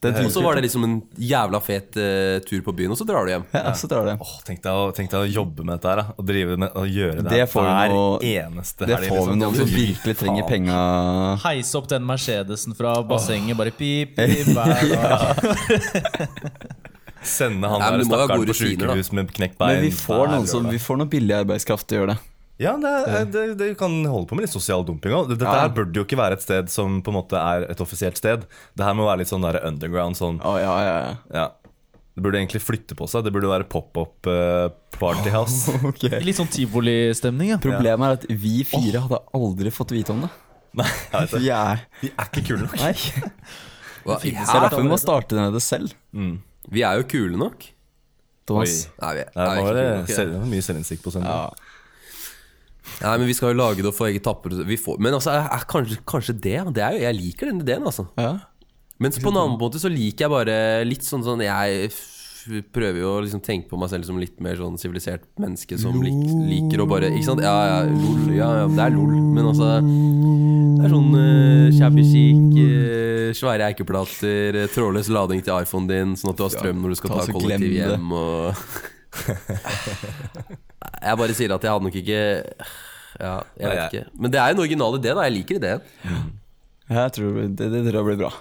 Det er
Og så
dritkult.
var det liksom en jævla fet eh, tur på byen, og så drar du hjem.
Ja, så drar det.
Åh, Tenk deg, å, tenk deg å jobbe med dette her. da Og drive med og gjøre det,
Det
her
får vi
hver
nå-
eneste
Det
helg,
får vi
liksom.
noen som virkelig trenger
Faen.
penga.
Heise opp den Mercedesen fra bassenget, bare pip, pip hver dag.
Sende han
Nei, men du må jo
der
ha
stakkaren
gode
på
rutiner, da.
sykehus med knekt bein.
Men vi får
hver
noen som
lørdag.
Vi får noe billig arbeidskraft til å gjøre det.
Ja, det, er, det, det kan holde på med litt sosial dumping òg. Dette
Ja.
her burde jo ikke være et sted som på en måte er et offisielt sted. Det her må være litt sånn der underground. Sånn,
Å, ja, ja, ja.
ja. Det burde egentlig flytte på seg. Det burde være pop-up eh, partyhouse.
Litt sånn tivolistemning, ja.
Problemet er at vi fire hadde aldri fått vite om det.
Nei, jeg vet det.
Vi er
Vi er ikke kule nok.
Nei. Så
Hva?
det er
Hæ?
derfor vi må starte med det selv.
Vi er jo kule nok.
Thomas.
Oi.
Nei, vi er,
Nei,
nei,
nå
vi er
var eh, det
ikke kule nok,
selv, mye selvinnsikt på søndag.
Ja.
ja. nei, men vi skal jo lage det og få eget tapper. og så- Vi får, men altså, er, er kanskje, kanskje det, ja. det er jo, Jeg liker den ideen, altså.
Ja.
Men så på en annen måte så liker jeg bare litt sånn sånn Jeg f- prøver jo å liksom tenke på meg selv som litt mer sånn sivilisert menneske som lik, liker å bare Ikke sant? Ja, ja, lol. Ja, ja, det er lol. Men altså Det er sånn uh, shabby chic, eh, svære eikeplater, eh, trådløs lading til iPhonen din, sånn at du har strøm når du skal
ta
ta
så glem
kollektiv
det.
hjem og Jeg bare sier at jeg hadde nok ikke Ja, jeg vet
Nei, jeg-
ikke. Men det er en original idé, da. Jeg liker ideen.
Jeg tror det, det tror jeg blir bra.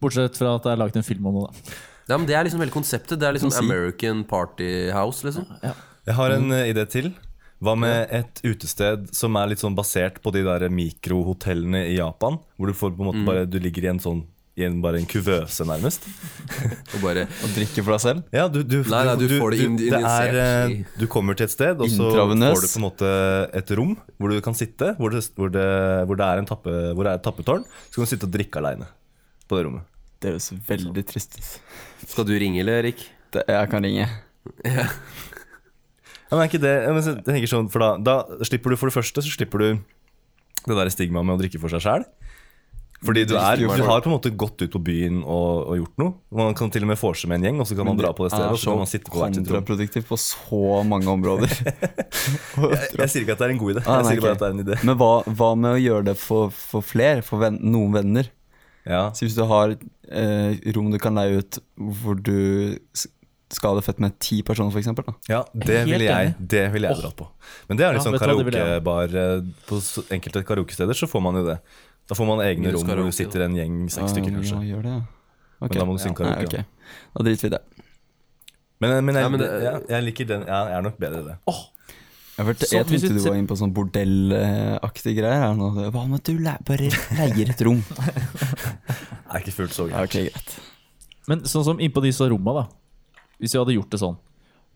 Bortsett fra at det er laget en film om det, da.
Ja, men Det er liksom hele konseptet. Det er liksom American Party House, liksom.
Jeg har en eh, idé til. Hva med et utested som er litt sånn basert på de der mikrohotellene i Japan? Hvor du får på en
Mm.
måte bare Du ligger i en sånn i en, bare en kuvøse, nærmest.
Og bare
Å drikke for deg selv.
Ja, du, du,
Nei, nei, du får det inn-
det er,
injisert i-
eh, du kommer til et sted, og så
Intravenøs.
får du på en måte et rom hvor du kan sitte. Hvor det, hvor det, hvor det er en tappe, hvor det er et tappetårn. Så kan du sitte og drikke aleine på det rommet.
Det høres veldig trist ut.
Skal du ringe, eller, Erik?
Det- Jeg kan ringe.
Ja, men er ikke det, ja, men så- jeg tenker sånn, for da, da slipper du for det første så slipper du det der stigmaet med å drikke for seg sjæl. Fordi du, er, du har på en måte gått ut på byen og, og gjort noe. Man kan til og med forse med en gjeng, og så kan man dra på det stedet.
er
Og så kan man sitte på hvert sitt rom.
kontraproduktivt på så mange områder.
Jeg, jeg sier ikke at det er en god idé. Jeg
Ah, nei,
sier bare
ok.
at det er en idé.
Men hva, hva med å gjøre det for, for flere? For venn, noen venner?
Ja.
Så hvis du har eh, rom du kan leie ut hvor du s- skal ha det fett med ti personer, for eksempel, da.
Ja, det
Helt
ville jeg,
enig.
det ville jeg dratt på. Men det er litt
Ja,
sånn
vet du hva, det ville jeg
karaokebar eh, På s- enkelte karaokesteder så får man jo det. Da får man egne
Minus
rom hvor
karaoke,
du sitter en gjeng, seks stykker
Ah,
kanskje.
Ja, gjør det, ja. Ok.
Men da må du synge
Nei,
karaoke. da.
ok. Da driter vi i det.
Men, eh, men, jeg,
Ja, men det-
ja, jeg liker den. Ja, jeg er nok bedre i det.
Jeg, hørte,
Sånn,
jeg
hvis
tenkte
vi
du
ser-
var inne på sånn bordellaktige greier. Her nå. Hva om at du le bare leier et rom?
Jeg er ikke fullt så
Ja,
gærent.
ok, greit.
Men sånn som innpå disse romma, da. Hvis vi hadde gjort det sånn,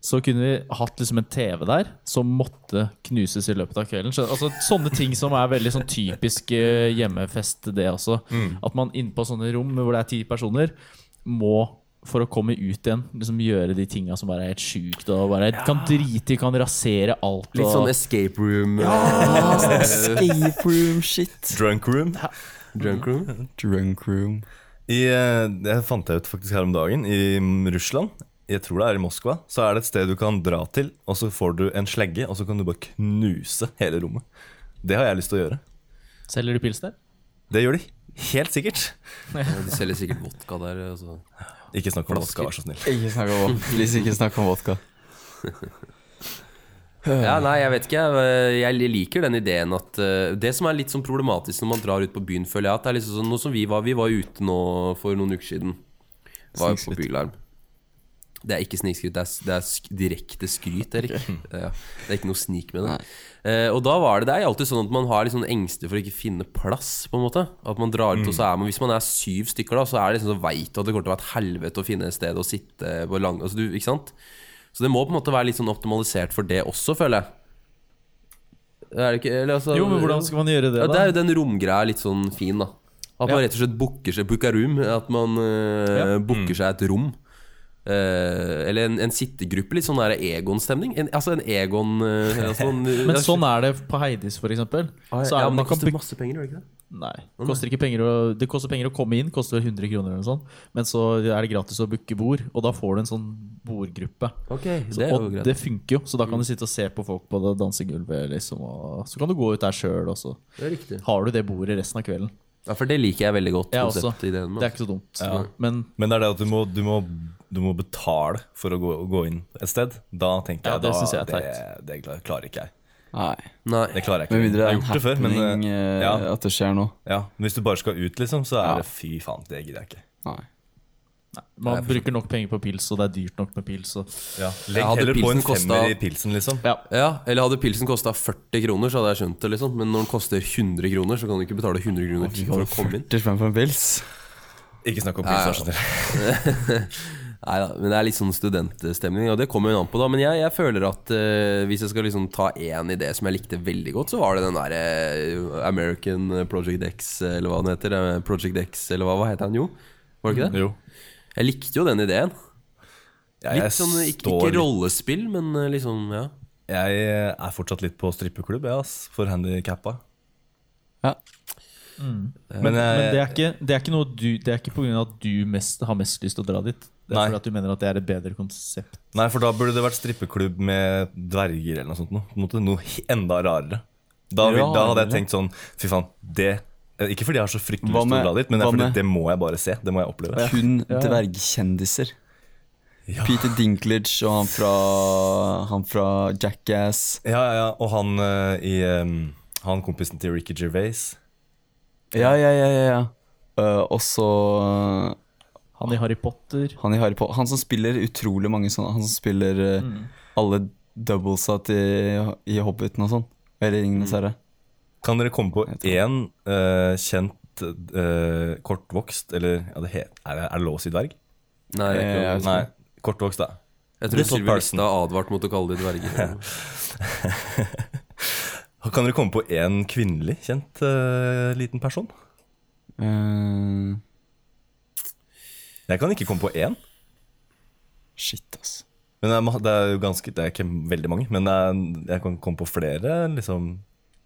så kunne vi hatt liksom en TV der som måtte knuses i løpet av kvelden. Skjønner- Altså Sånne ting som er veldig sånn typisk eh, hjemmefest, det også.
Mm.
At man innpå sånne rom hvor det er ti personer, må for å komme ut igjen, liksom gjøre de tinga som bare er helt sjukt. Og bare kan drite i, kan rasere alt.
Litt
og-
sånn escape room,
Escape room, shit.
Drunk room.
drunk room.
Drunk room.
I, eh, det fant jeg ut faktisk her om dagen. I mm, Russland, jeg tror det er i Moskva, så er det et sted du kan dra til, og så får du en slegge, og så kan du bare knuse hele rommet. Det har jeg lyst til å gjøre.
Selger du pils der?
Det gjør de. Helt sikkert.
Ja, De selger sikkert vodka der. Altså.
Ikke snakk om
Flasker.
vodka, vær så snill.
Ikke snakk om vodka. Please, ikke snakk om vodka.
Ja, nei, jeg vet ikke. jeg- Jeg liker den ideen at eh, Det som er litt sånn problematisk når man drar ut på byen, føler jeg, at det er liksom sånn noe som vi var Vi var ute nå for noen uker siden. Var jo på
Snikskryt.
Bylarm. Det er ikke snikskryt, det er, det er sk direkte skryt, Erik. Ja, det er ikke noe snik med det. Eh, og da var det det er alltid sånn at man har litt sånn engster for å ikke finne plass, på en måte. At man drar ut, og så er man Hvis man er syv stykker, da, så er det liksom så veit du at det kommer til å være et helvete å finne et sted å sitte på lang altså, du, Ikke sant? Så det må på en måte være litt sånn optimalisert for det også, føler jeg. Er det ikke eller, altså,
Jo, men hvordan skal man gjøre det,
ja, Det
da?
er jo den romgreia litt sånn fin, da. At man
Ja.
rett og slett booker seg booker room. At man eh,
Ja.
booker seg et rom. Eh, eller en, en sittegruppe. Litt sånn der Egon-stemning. En, altså en Egon eh, altså en,
Men sånn er det på Heidis, for eksempel. Så er
Ah, ja,
det,
men
man
det
kan
koster masse penger, gjør det ikke det?
Nei. Det koster, ikke penger å, det koster penger å komme inn, koster vel 100 kroner eller noe sånt. Men så er det gratis å booke bord, og da får du en sånn bordgruppe.
Ok,
Så,
det er jo
og
greit. Mm.
det funker jo, så da kan du sitte og se på folk på det dansegulvet, liksom. Og så kan du gå ut der sjøl, og så
Det er riktig.
har du det bordet resten av kvelden.
Ja, for det liker jeg veldig godt.
Jeg også.
konseptideen med,
Det er ikke så dumt. Men
Men det er det at du må, du må, du må betale for å gå, gå inn et sted. Da tenker
Ja,
jeg
det
da,
synes jeg er
det, det kla- klarer ikke jeg.
Nei.
Nei.
Det klarer jeg ikke.
Med mindre
jeg har
det er en
gjort det før, men
happening
eh,
eh,
ja,
at det skjer noe.
ja. Men hvis du bare skal ut, liksom, så er
Ja.
det fy faen, det gidder jeg ikke.
Nei.
man bruker nok penger på pils, og det er dyrt nok med pils. Og,
Ja,
Ja. Legg
hadde
heller på en
pilsen kosta-
femmer i pilsen, liksom.
ja.
Ja, eller hadde pilsen kosta 40 kroner, så hadde jeg skjønt det. liksom Men når den koster 100 kroner, så kan du ikke betale 100 kroner for å komme inn.
40 spenn for en pils?
Ikke snakk om pils, vær så snill.
Neida, men det er litt sånn studentstemning, og det kommer jo an på, da. Men jeg, jeg føler at eh, hvis jeg skal liksom ta én idé som jeg likte veldig godt, så var det den derre American Project X, eller hva den heter. eh, Project X, eller hva, hva heter den? Jo, var det ikke det?
Jo.
Jeg likte jo den ideen.
Jeg,
Litt sånn, ikke, ikke rollespill, men eh, liksom, ja.
jeg eh, er fortsatt litt på strippeklubb, jeg, ass. For handikappa.
Ja.
Men
eh,
jeg,
Men det er ikke, det er ikke, noe du, det er ikke på grunn av at du mest, har mest lyst til å dra dit. Det er
Nei.
fordi at du mener at det er et bedre konsept.
Nei, for da burde det vært strippeklubb med dverger eller noe sånt. Noe, på en måte noe he- enda rarere. Da, vil, da hadde jeg
Rarere?
tenkt sånn Fy faen, det eh, Ikke fordi jeg har så fryktelig
Hva
lyst til å
med-
dra dit, men det er
hva
fordi
med-
det må jeg bare se. Det må jeg oppleve.
Kun dvergkjendiser.
Ja.
Peter Dinklage og han fra, han fra Jackass.
Ja, ja, ja. Og han eh, i eh, Han kompisen til Ricky Gervais.
Ja, ja, ja. ja, ja. Eh, også eh,
Han i Harry Potter.
han i Harry Potter. Han som spiller utrolig mange sånne. Han som spiller eh, alle doublesa til, i Hobbiten og sånn. Eller Ringenes herre.
Kan dere komme på én eh, kjent eh, kortvokst Eller ja, det he- er det er det lov å si dverg?
Nei, jeg,
Eh,
jeg,
jeg-
Nei. Kortvokst, da.
jeg
Little
tror Sylvi
person.
Listad advart mot å kalle de dverger.
Kan dere komme på én kvinnelig kjent eh, liten person?
Eh,
Jeg kan ikke komme på én.
shit, ass.
Men det er, ma- det er jo ganske Det er ikke veldig mange, men det er, jeg kan komme på flere liksom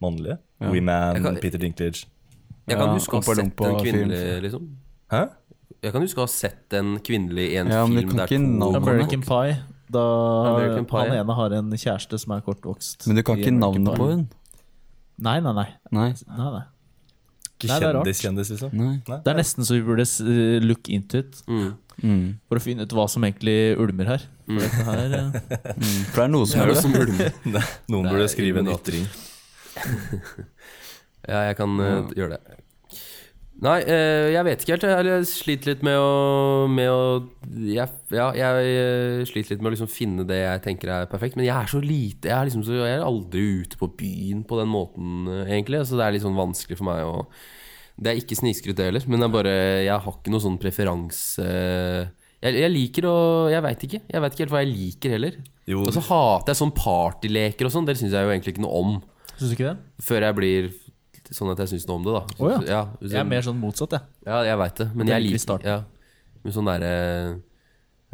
mannlige.
Ja.
WeMan,
Jeg kan-
Peter Dinklage.
Jeg kan
Ja,
huske å ha
Oompa
sett en
Loompa
kvinnelig,
film.
liksom.
Hæ?
Jeg kan huske å ha sett en kvinnelig i en
Ja, men vi
film
kan
der
ikke navnet.
American Pie. Da
American Pie.
han ene har en kjæreste som er kortvokst.
Men du kan
i
ikke
American
navnet
Pie.
på hun?
Nei, nei, nei.
Nei.
nei, nei.
Ikke
Nei, det er rart.
kjendis-kjendis, liksom?
Nei.
Det er nesten så vi burde s- eh, look into it
Mm.
Mm.
for å finne ut hva som egentlig ulmer her. For dette her eh,
Mm. For det er noe som
Det er
gjør
noe
det.
som ulmer.
Noen
Det
burde
er
skrive en
Illuminati.
ytring.
Ja, jeg kan eh, gjøre det. Nei, eh, jeg vet ikke helt. Jeg eller jeg sliter litt med å, med å jeg, Ja, jeg eh, sliter litt med å liksom finne det jeg tenker er perfekt. Men jeg er så lite Jeg er, liksom så, jeg er aldri ute på byen på den måten, eh, egentlig. Så det er litt sånn vanskelig for meg å Det er ikke snikskryt, det heller. Men det er bare, jeg har ikke noe sånn preferanse eh, jeg, jeg liker å Jeg veit ikke. Jeg veit ikke helt hva jeg liker heller.
Jo,
Og så hater jeg sånn partyleker og sånn. Det syns jeg jo egentlig ikke noe om.
Syns du ikke det?
Før jeg blir sånn at jeg syns noe om det, da.
Å ja.
hvis
Jeg er mer sånn motsatt, jeg.
ja, jeg veit det, men
Det
jeg
liker vi
liker
starten.
ja. Men sånn derre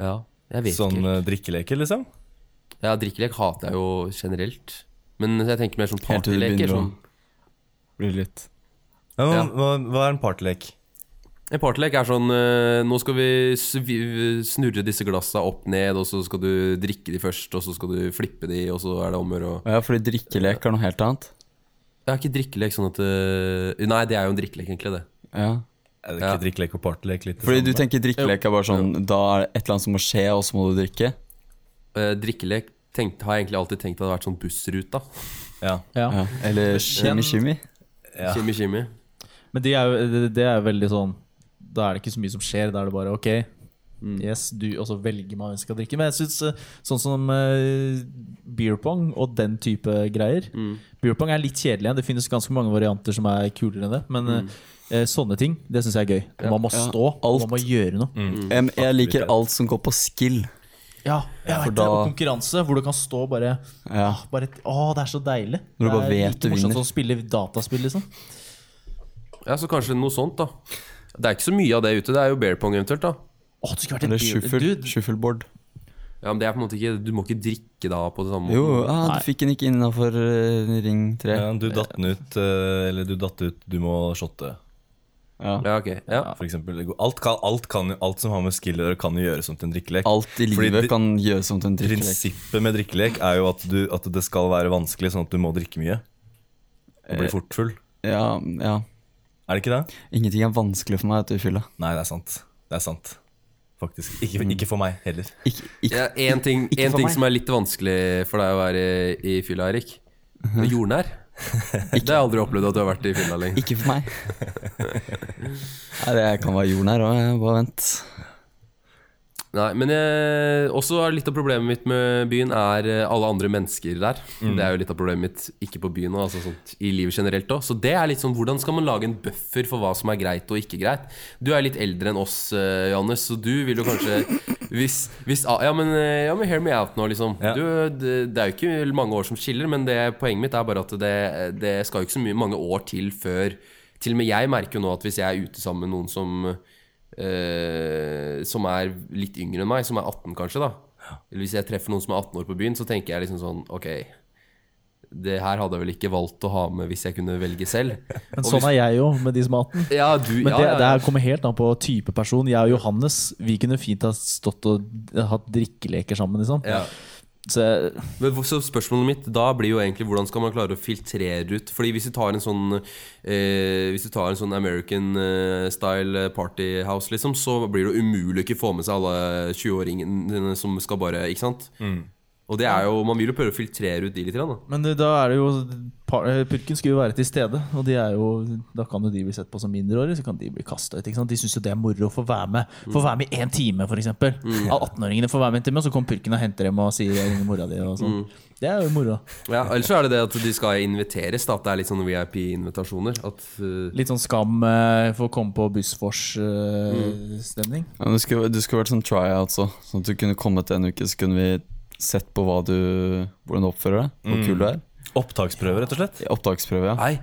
Ja, jeg vet
sånn
ikke.
eh, drikkeleke, liksom?
helt. Ja, drikkelek hater jeg jo generelt. Men jeg tenker mer sånn
Helt til du
partyleker.
begynner å-
Sånn.
Blir litt
Ja, men,
Ja.
hva, hva er en partylek?
En partylek er sånn eh, Nå skal vi svi- snurre disse glassa opp ned, og så skal du drikke de først, og så skal du flippe de, og så er det om å gjøre å
Ja, fordi drikkelek er noe helt annet.
Jeg har ikke drikkelek sånn at eh, Nei, det er jo en drikkelek, egentlig, det.
Ja.
Er det ikke
Ja.
drikkelek og partylek litt liksom? det
Fordi
samme?
du tenker drikkelek er bare sånn Da er det et eller annet som må skje, og så må du drikke.
Eh, drikkelek tenkt, har jeg egentlig alltid tenkt hadde vært sånn bussruta.
Ja.
Ja.
Ja. Eller shimmy-shimmy.
Ja.
Kimi, kimi.
Men det er, jo, det- det er jo veldig sånn Da er det ikke så mye som skjer. Da er det bare ok.
Mm.
Yes, du, og så velger man hvem som skal drikke. Men jeg syns sånn som eh, beer pong og den type greier
Mm.
Beer pong er litt kjedelig igjen. Det finnes ganske mange varianter som er kulere enn det. Men eh, eh, sånne ting det syns jeg er gøy. Og Man må
Mm. Ja. Mm.
stå, og man må gjøre noe.
Em, jeg liker alt som går på skill.
Ja, jeg
for
vet det, og
da-
konkurranse hvor du kan stå og bare,
Ja.
bare Å, det er så deilig.
Når du bare
det er
vet
like
du
morsomt
vinner.
som å spille dataspill, liksom.
Ja, så kanskje noe sånt, da. Det er ikke så mye av det ute. Det er jo bear pong eventuelt, da.
Å, det skulle vært
Eller
et beer,
shuffle,
dude.
shuffleboard.
Ja, men det er på en måte ikke Du må ikke drikke da på det samme
Jo,
måten.
ah, du fikk den ikke innafor ring tre.
Ja, du datt den ut, eh, eller du datt ut, du må shotte,
Ja.
Ja, ok. Ja.
for eksempel. Alt, kan, alt, kan, jo- alt som har med skill å gjøre, kan jo gjøres om til en drikkelek.
Alt i
Fordi
livet
det-
kan gjøres om til en drikkelek.
Prinsippet med drikkelek er jo at, du, at det skal være vanskelig, sånn at du må drikke mye. Og bli fort full.
Ja, ja.
Er det ikke det?
Ingenting er vanskelig for meg etter fylla.
Nei, det er sant. Det er sant. Faktisk. Ikke, ikke for meg heller.
Ikke, ikke,
Ja, en ting,
Ikke
en
for
ting
meg.
som er litt vanskelig for deg å være i, i fylla, Erik.
Mhm.
Men Jordnær. Det har jeg aldri opplevd at du har vært i fylla lenger.
ikke for meg. Nei, det kan være jorden her òg, bare vent.
Nei, men jeg, også er litt av problemet mitt med byen er eh, alle andre mennesker der. Det er jo litt av problemet mitt, ikke på byen, og altså sånt, i livet generelt òg. Så det er litt sånn, hvordan skal man lage en buffer for hva som er greit og ikke greit? Du er litt eldre enn oss, eh, Johannes, så du vil jo kanskje hvis, hvis, ah, ja, men, eh, ja, men hear me out nå, liksom.
Ja.
Du, det, det er jo ikke mange år som skiller, men det, poenget mitt er bare at det, det skal jo ikke så mye, mange år til før Til og med jeg merker jo nå at hvis jeg er ute sammen med noen som eh, som er litt yngre enn meg, som er 18 kanskje, da. Eller hvis jeg treffer noen som er 18 år på byen, så tenker jeg liksom sånn Ok, det her hadde jeg vel ikke valgt å ha med hvis jeg kunne velge selv.
Men sånn er jeg jo med de som er 18.
Ja, du,
Men
ja,
det,
ja,
det
ja.
her kommer helt an på type person. Jeg og Johannes vi kunne fint ha stått og hatt drikkeleker sammen. Liksom.
Ja.
Så jeg-
Men hvor- så spørsmålet mitt da blir jo egentlig hvordan skal man klare å filtrere ut Fordi hvis du tar en sånn eh, Hvis du tar en sånn American eh, style party house, liksom, så blir det umulig å ikke få med seg alle 20-åringene som skal bare Ikke sant? Og det er jo Man vil jo prøve å filtrere ut de litt, grann, da.
men det- da er det jo par- eh, Purken skulle jo være til stede, og de er jo, da kan jo de bli sett på som mindreårige. Så kan de bli kasta ut. Ikke sant? De syns jo det er moro å få være med Få være med i én time, f.eks. Mm. 18-åringene får være med en time, og så kommer purken og henter dem og sier jeg ringer mora di. Og
Mm.
sånn. Det er jo moro.
Ja, Eller så er det det at de skal inviteres, da. At det er litt sånn VIP-invitasjoner. At eh,
Litt sånn skam eh, for å komme på eh,
Mm.
Bussfors-stemning.
Ja, du, skulle, du skulle vært sånn tryouts òg, sånn at du kunne kommet en uke, så kunne vi sett på hva du, hvordan du oppfører deg, hvor kul du er.
Opptaksprøve, rett og slett.
Opptaksprøve, ja.
Nei,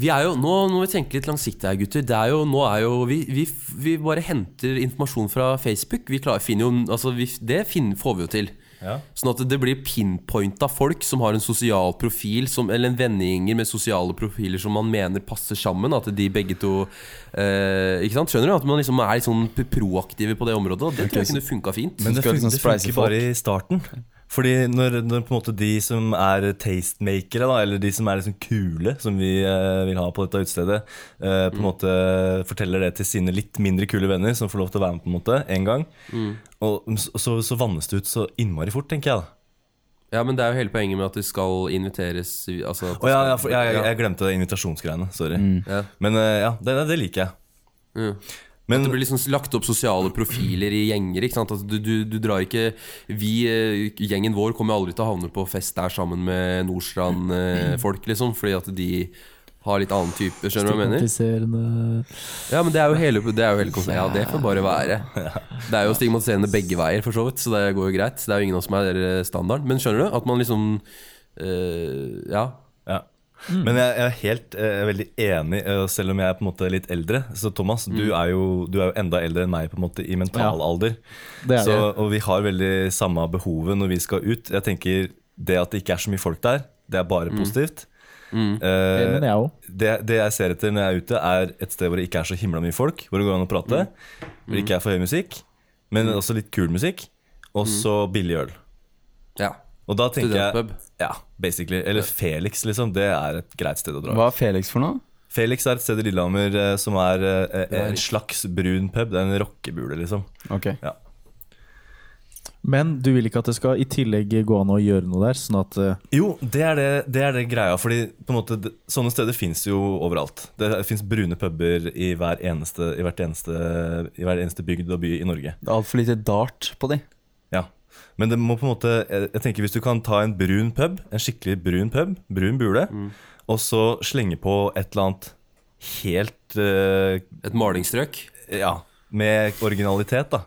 vi er jo, nå må vi tenke litt langsiktig her, gutter. Det er jo, nå er jo, vi, vi, vi bare henter informasjon fra Facebook. Vi klarer, finner jo, altså vi, det finner, får vi jo til.
Ja.
Sånn at det blir pinpointa folk som har en sosial profil, som, eller en vennegjenger med sosiale profiler som man mener passer sammen. At de begge to eh, Ikke sant? Skjønner du? At man liksom er litt sånn proaktive på det området. Og det tror jeg kunne funka fint.
Men det,
skal
fun
liksom
det
spleise
funker
folk.
bare i starten. Fordi når, når på en måte de som er tastemakere, da, eller de som er liksom kule, som vi eh, vil ha på dette utestedet, eh, på en måte forteller det til sine litt mindre kule venner, som får lov til å være med på en måte en gang, og så, så, så vannes det ut så innmari fort, tenker jeg. da.
Ja, men det er jo hele poenget med at de skal inviteres. Altså, at
Å
de
ja,
skal-
ja, for, jeg, jeg, jeg glemte invitasjonsgreiene. Sorry.
Ja.
Men eh, ja, det, det liker jeg.
Ja.
Men
Det blir liksom lagt opp sosiale profiler i gjenger. ikke sant? Altså, du, du, du drar ikke vi, eh, Gjengen vår kommer aldri til å havne på fest der sammen med Nordstrand-folk, liksom, fordi at de har litt annen type. Skjønner du hva jeg mener?
Stigmatiserende
Ja, men det er jo hele, det er jo hele konseptet. Ja, det får bare være. Det er jo stigmatiserende begge veier, for så vidt, så det går jo greit. Det er jo ingen av oss som er eh, standarden. Men skjønner du? At man liksom eh, Ja.
Ja. Men jeg, jeg er helt eh, veldig enig, eh, selv om jeg er på en måte litt eldre. Så Thomas, du, er jo, du er jo enda eldre enn meg på en måte i mental alder.
Det er
Så,
det.
og vi har veldig samme behovet når vi skal ut. Jeg tenker Det at det ikke er så mye folk der, det er bare positivt. Eh,
Det mener jeg òg.
det, det jeg ser etter når jeg er ute, er et sted hvor det ikke er så himla mye folk. Hvor det går an å prate. Hvor det ikke er for høy musikk, men også litt kul musikk. Og så billig øl.
ja.
Og da tenker jeg
Studentpub.
Ja, basically. Eller Felix, liksom. Det er et greit sted å dra.
Hva er Felix for noe?
Felix er et sted i Lillehammer eh, som er eh, en slags brun pub. Det er en rockebule, liksom.
Ok.
Ja.
Men du vil ikke at det skal i tillegg gå an å gjøre noe der, sånn at eh,
Jo, det er det, det er det greia. Fordi på en måte, det- sånne steder fins jo overalt. Det fins brune puber i, hver eneste, i, hvert eneste, i hver eneste bygd og by i Norge.
Det er altfor lite dart på de.
Ja. Men det må på en måte jeg, jeg tenker Hvis du kan ta en brun pub, en skikkelig brun pub, brun bule, og så slenge på et eller annet helt eh,
Et malingsstrøk.
Ja, med originalitet, da.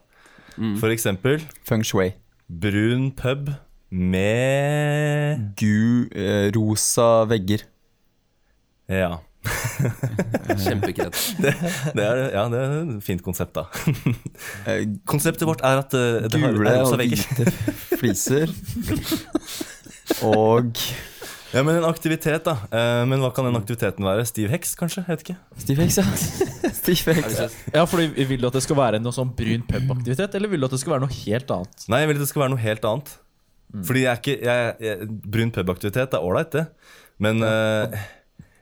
Mm,
For eksempel
Feng shui.
brun pub med
Gu, eh, rosa vegger.
Ja.
Kjempekret.
Det er, ja, det er et fint konsept, da.
Eh,
Konseptet vårt er at eh, det har
gule
er rosa
og
vegger.
hvite fliser. Og
Ja, men en aktivitet, da. Eh, Men hva kan den aktiviteten være? Stiv heks, kanskje? Jeg vet ikke.
Steve Hex, ja. Steve Hex.
Ja, fordi Vil du at det skal være noe sånn brun pubaktivitet, eller vil du at det skal være noe helt annet?
Nei, jeg vil at det skal være noe helt annet.
Mm.
Fordi jeg er ikke jeg, jeg, Brun pubaktivitet er ålreit, det. Men eh, det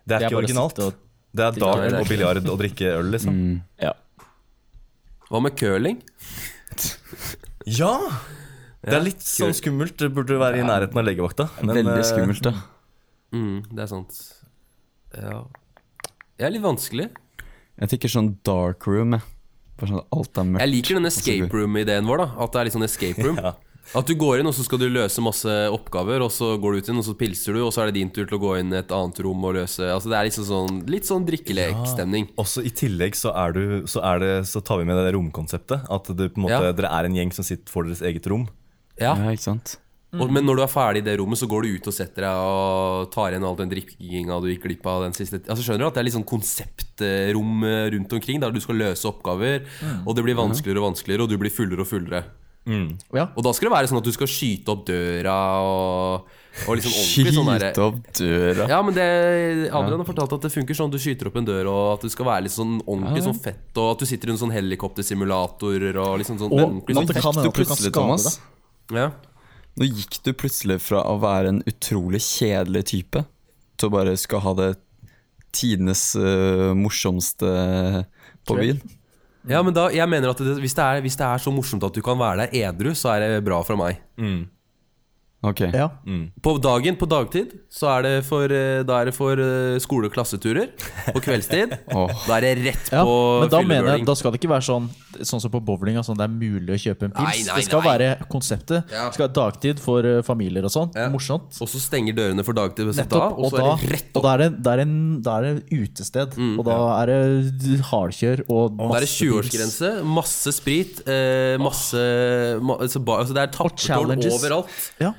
Det er
er ikke
bare å
originalt.
sitte og Mm.
Det er
Nei, det
dart
er
og biljard og drikke øl, liksom.
mm,
Ja.
Hva med curling?
Ja! Det er litt sånn skummelt. Det burde være i nærheten av legevakta. men, eh,
Veldig skummelt, da.
Mm, det er sant. Ja Det er litt vanskelig.
Jeg tenker sånn dark room, jeg. Bare sånn at alt er
Jeg
mørkt.
liker den escape room-ideen vår. da At det er litt sånn escape room. At du går inn, og så skal du løse masse oppgaver, og så går du ut inn, og så pilser du, og så er det din tur til å gå inn i et annet rom og løse Altså Det er liksom sånn, litt sånn drikkelekstemning.
Også I tillegg så, er du, så, er det, så tar vi med det der romkonseptet. At det, på en måte,
Ja.
dere er en gjeng som sitter for deres eget rom.
Ja.
Ja, ikke sant?
Og, men når du er ferdig i det rommet, så går du ut og setter deg og tar igjen all den drikkinga du gikk glipp av den siste Altså Skjønner du at det er litt sånn konseptrom eh, rundt omkring, der du skal løse oppgaver, og det blir vanskeligere og vanskeligere, og du blir fullere og fullere. Og da skal det være sånn at du skal skyte opp døra og, og liksom ordentlig sånn derre
Skyte opp døra.
ja, men det, Adrian har fortalt at det funker sånn. Du skyter opp en dør, og at det skal være litt sånn ordentlig sånn fett. Og at du sitter i en sånn helikoptersimulatorer og liksom sånn
at
ordentlig sånn
det
fett.
kan
Gikk
hende at
du
du kan
plutselig,
skade
Thomas?
deg.
Ja.
Nå gikk du plutselig fra å være en utrolig kjedelig type til å bare skal ha det tidenes eh, morsomste på byen.
ja, men da, jeg mener at det, hvis, det er, hvis det er så morsomt at du kan være der edru, så er det bra fra meg.
Ok.
Ja.
På dagen, på dagtid, så er det for, eh, da er det for eh, skole- og klasseturer. På kveldstid,
Åh.
da er det rett
Ja,
på
men da mener jeg
fyllebøling.
Da skal det ikke være sånn Sånn som på bowling sånn, Det er mulig å kjøpe en pils
Nei, nei,
Det skal
nei.
være konseptet
Ja.
Det skal være dagtid for eh, familier og sånn
Ja.
Morsomt
Og så stenger dørene for dagtid, så da,
Nettopp,
og så er det rett Mm.
og da er det, da er det, en- da er det utested Og da er det hardkjør
Da er
Og
det
masse pils.
20-årsgrense, masse sprit, eh, masse ma, altså, ba, altså Det er tappetårn
challenges.
overalt.
Ja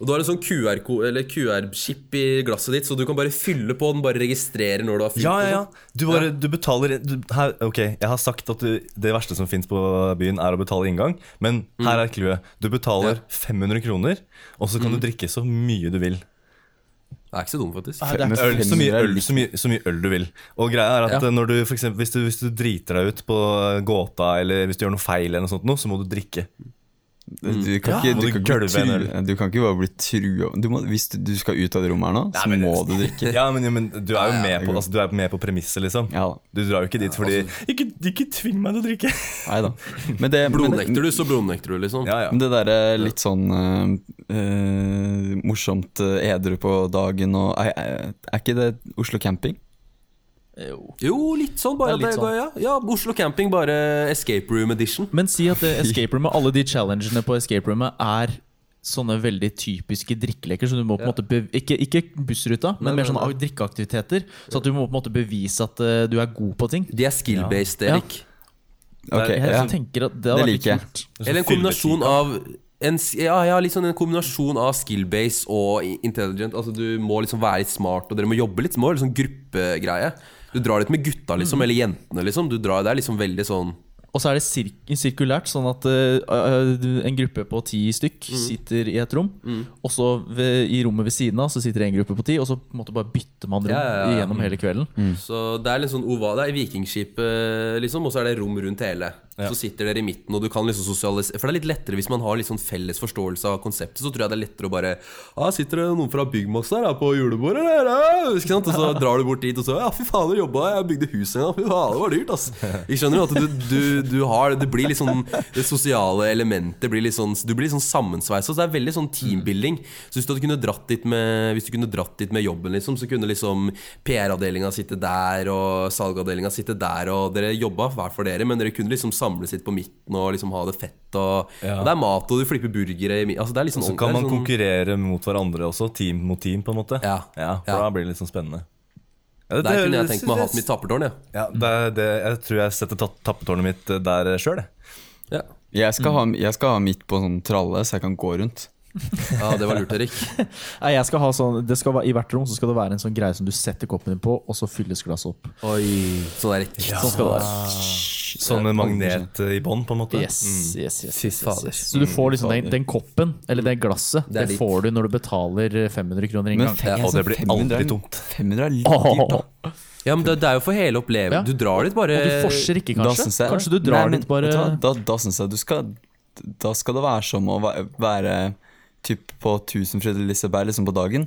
Og du har en sånn QR-ko- eller QR-chip i glasset ditt, så du kan bare fylle på den. Bare registrere når du har fylt.
Ja,
og
ja, ja.
sånn.
Du bare du betaler du, her, Ok, jeg har sagt at du, det verste som fins på byen, er å betale inngang, men her er clouet. Du betaler 500 kroner, og så kan du drikke så mye du vil.
Det er ikke så dum, faktisk.
Nei, det er
Men
ikke
Øl, så, mye
femmere er
øl,
litt-
så, mye, så mye øl du vil. Og greia er at eh, når du, for eksempel, hvis, du, hvis du driter deg ut på eh, gåta, eller hvis du gjør noe feil, eller noe sånt, noe, så må du drikke.
Du kan,
Mm. Ja,
ikke,
må du
du, kan ikke bli
gølve en
trua, du kan ikke bare bli trua du må, Hvis du, du skal ut av det rommet her nå, så
men-
må du drikke.
Ja, men, ja, men du er jo med på, altså, du er med på premisset, liksom.
Ja da.
Du drar jo ikke dit fordi Ikke, ikke tving meg til å drikke!
Nei da. Men det, men,
Blodnekter du, så blodnekter du, liksom.
Ja, ja.
men det derre litt sånn eh, eh, morsomt eh, edru på dagen og Er, er- er ikke det Oslo camping?
Jo, litt sånn, bare.
Det er litt
at det, Ja, ja, Oslo camping, bare escape room edition.
Men si at det escape roomet, alle de challengene på escape roomet er sånne veldig typiske drikkeleker. Så du må på en måte bev ikke, ikke bussruta, men mer sånne drikkeaktiviteter. Så at du må på en måte bevise at eh, du er god på ting.
De er skill-based,
Ja.
Erik.
Ok,
Det er-
Jeg
ja.
tenker at Det,
Det
hadde vært
liker jeg.
kult.
sånn
Eller en kombinasjon av en, s- ja, ja, litt sånn en kombinasjon av skill-based og i- intelligent. Altså Du må liksom være litt smart, og dere må jobbe litt. Det må være litt sånn gruppegreie. Du drar litt med gutta, liksom, eller jentene, liksom. Du drar, det er liksom veldig sånn
Og så er det sirk sirkulært, sånn at eh, eh, en gruppe på ti stykk sitter i et rom. Og så ved, i rommet ved siden av så sitter det en gruppe på ti, og så på en måte bare bytter man rom
Ja, ja, ja. Mm.
gjennom hele kvelden.
Så det er litt sånn oval, det er vikingskipet, liksom, og så er det rom rundt hele. Så sitter dere i midten, og du kan liksom sosialisere For det er litt lettere hvis man har litt sånn felles forståelse av konseptet, så tror jeg det er lettere å bare Ja, sitter det noen fra Byggmax der, da, på julebordet, eller? Ja, Ikke sant? Og så drar du bort dit, og så Ja, fy faen, du jobba, jeg bygde hus en gang, fy faen, det var dyrt, ass. Jeg skjønner jo at du, du, du har Det blir litt sånn Det sosiale elementet blir litt sånn Du blir litt sånn sammensveisa, så det er veldig sånn teambuilding. Så hvis du hadde kunne dratt dit med Hvis du kunne dratt dit med jobben, liksom, så kunne liksom PR-avdelinga sitte der, og salgavdelinga sitte der, og dere jobba hver for dere, men dere kunne liksom samles litt på midten og liksom ha det fett, og,
Ja.
og det er mat, og du flipper burgere i mi- Altså, det er liksom
Så kan
det er
man
sånn-
konkurrere mot hverandre også, team mot team, på en måte.
Ja.
for
Ja.
da blir det litt sånn spennende. Ja, det,
Der kunne jeg
det-
tenkt meg å ha hatt mitt tapertårn, ja.
ja, det, er- det, Jeg tror jeg setter tapp- tappetårnet mitt eh, der sjøl, jeg.
ja.
Jeg skal,
Mm.
ha, jeg skal ha mitt på sånn tralle, så jeg kan gå rundt.
Ja, det var lurt, Erik.
Nei, jeg skal ha sånn det skal være, I hvert rom så skal det være en sånn greie som du setter koppen din på, og så fylles glasset opp.
Oi. Sånn der ja.
Sånn skal det være.
Sånn med magnet eh, i bånn, på en måte.
Yes, yes, yes, yes, yes,
fader.
yes. Så du får liksom den, den koppen, eller det glasset,
Det er
det,
ditt.
får du når du betaler 500 kroner
Men
inngang.
altså, fe-
Og det blir
500
aldri tomt.
500 er litt dyrt, da.
Åh.
Ja, men det, det er jo for hele opplevelsen.
Ja.
Du drar dit bare
Og du forser ikke, kanskje?
synes jeg-
kanskje du drar
Nei, men
dit bare
vet du hva? Da, da syns jeg du skal Da skal det være som å væ- være typ på Tusenfryd eller Liseberg liksom på dagen,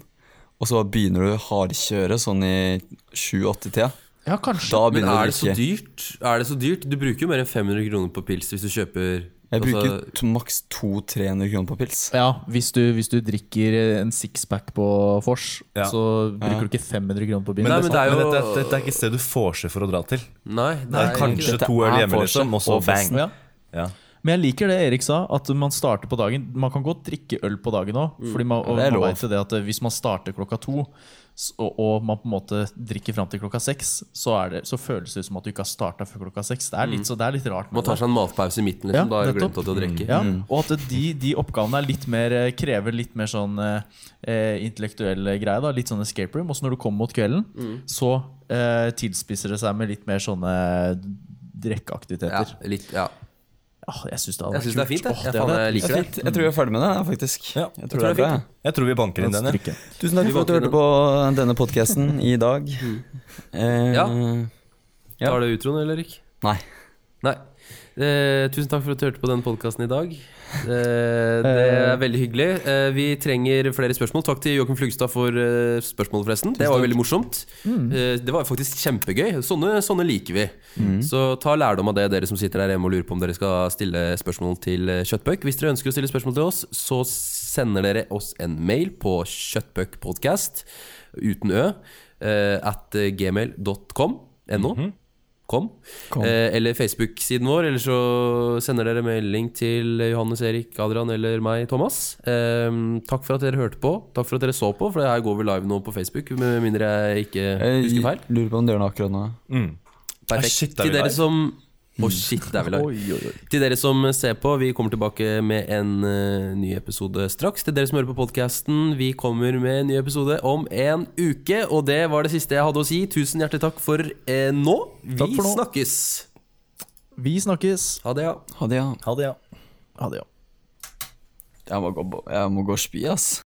og så begynner du hardkjøre sånn i 7-8-tida.
Ja, kanskje.
Da
Men
begynner
er
du
det så
å drikke.
dyrt? Er det så dyrt? Du bruker jo mer enn 500 kroner på pils hvis du kjøper
Jeg
altså,
bruker to, maks 200-300 kroner på pils.
Ja, hvis du, hvis du drikker en sixpack på vors,
Ja.
så bruker du ikke 500 kroner på byen. sånn.
Nei, men
Men, det,
det er jo-
dette, dette er ikke et sted du får seg for å dra til.
Nei, det
Det
er
er kanskje
Dette
to øl
er
hjemme,
vorset
liksom, og så
og festen.
bang.
Ja.
Ja.
Men jeg liker det Erik sa, at man starter på dagen. Man kan godt drikke øl på dagen òg.
Mm.
Man, og
det er
man
lov.
vet jo det at eh, hvis man starter klokka to, s- og, og man på en måte drikker fram til klokka seks, så, er det, så føles det som at du ikke har starta før klokka seks. Det er litt, så det er litt rart.
Mm.
med
Man tar
det.
seg en matpause i midten,
Ja,
liksom. da har du
nettopp.
glemt at du har drukket. Mm.
ja, og at de, de oppgavene er litt mer, eh, krever litt mer sånn eh, intellektuell greie. Da. Litt sånn escape room. Og så når du kommer mot kvelden,
Mm.
så eh, tilspisser det seg med litt mer sånne
Ja,
drikkeaktiviteter.
litt, ja.
Åh, jeg syns det, hadde
Jeg
vært
syns det er
kult.
fint, jeg.
Åh,
Jeg,
det
faen,
hadde
jeg liker det.
Fint. Jeg tror vi er ferdig med det, faktisk.
Ja,
jeg tror det er bra. jeg.
Jeg tror vi banker
vært
inn den. jeg.
strikke.
Tusen takk for at du hørte på denne podkasten i dag. Eh,
Ja.
Ja.
Tar du utroen, eller, Erik?
Nei.
Nei. Eh, tusen takk for at du hørte på denne podkasten i dag. Eh, det er veldig hyggelig. Eh, vi trenger flere spørsmål. Takk til Joakim Flugstad for eh, spørsmålet, forresten. Det var jo veldig morsomt.
Mm.
Eh, det var jo faktisk kjempegøy. Sånne, sånne liker vi.
Mm.
Så ta lærdom av det, dere som sitter der hjemme og lurer på om dere skal stille spørsmål til eh, Kjøttbøk. Hvis dere ønsker å stille spørsmål til oss, så sender dere oss en mail på kjøttbøkpodkast uten ø eh, at gmail.com. NO.
Mhm.
Kom.
Kom.
Eh, eller Facebook-siden vår, eller så sender dere melding til Johannes Erik, Adrian eller meg, Thomas. Eh, takk for at dere hørte på. Takk for at dere så på, for det her går vi live nå på Facebook. Med mindre jeg ikke husker feil.
Eh, jeg lurer på om du gjør noe akkurat nå.
Perfekt.
Mm. shit, er vi
til dere
live?
som Å, shit, det er vi live. Til dere som ser på, vi kommer tilbake med en eh, ny episode straks. Til dere som hører på podkasten, vi kommer med en ny episode om en uke. Og det var det siste jeg hadde å si. Tusen hjertelig takk for eh, nå. Vi
Takk for nå.
snakkes.
Vi snakkes.
Ha det, ja.
Ha det, ja.
Ha det, ja.
Ha det, ja.
Jeg må gå, jeg må gå og spy, ass.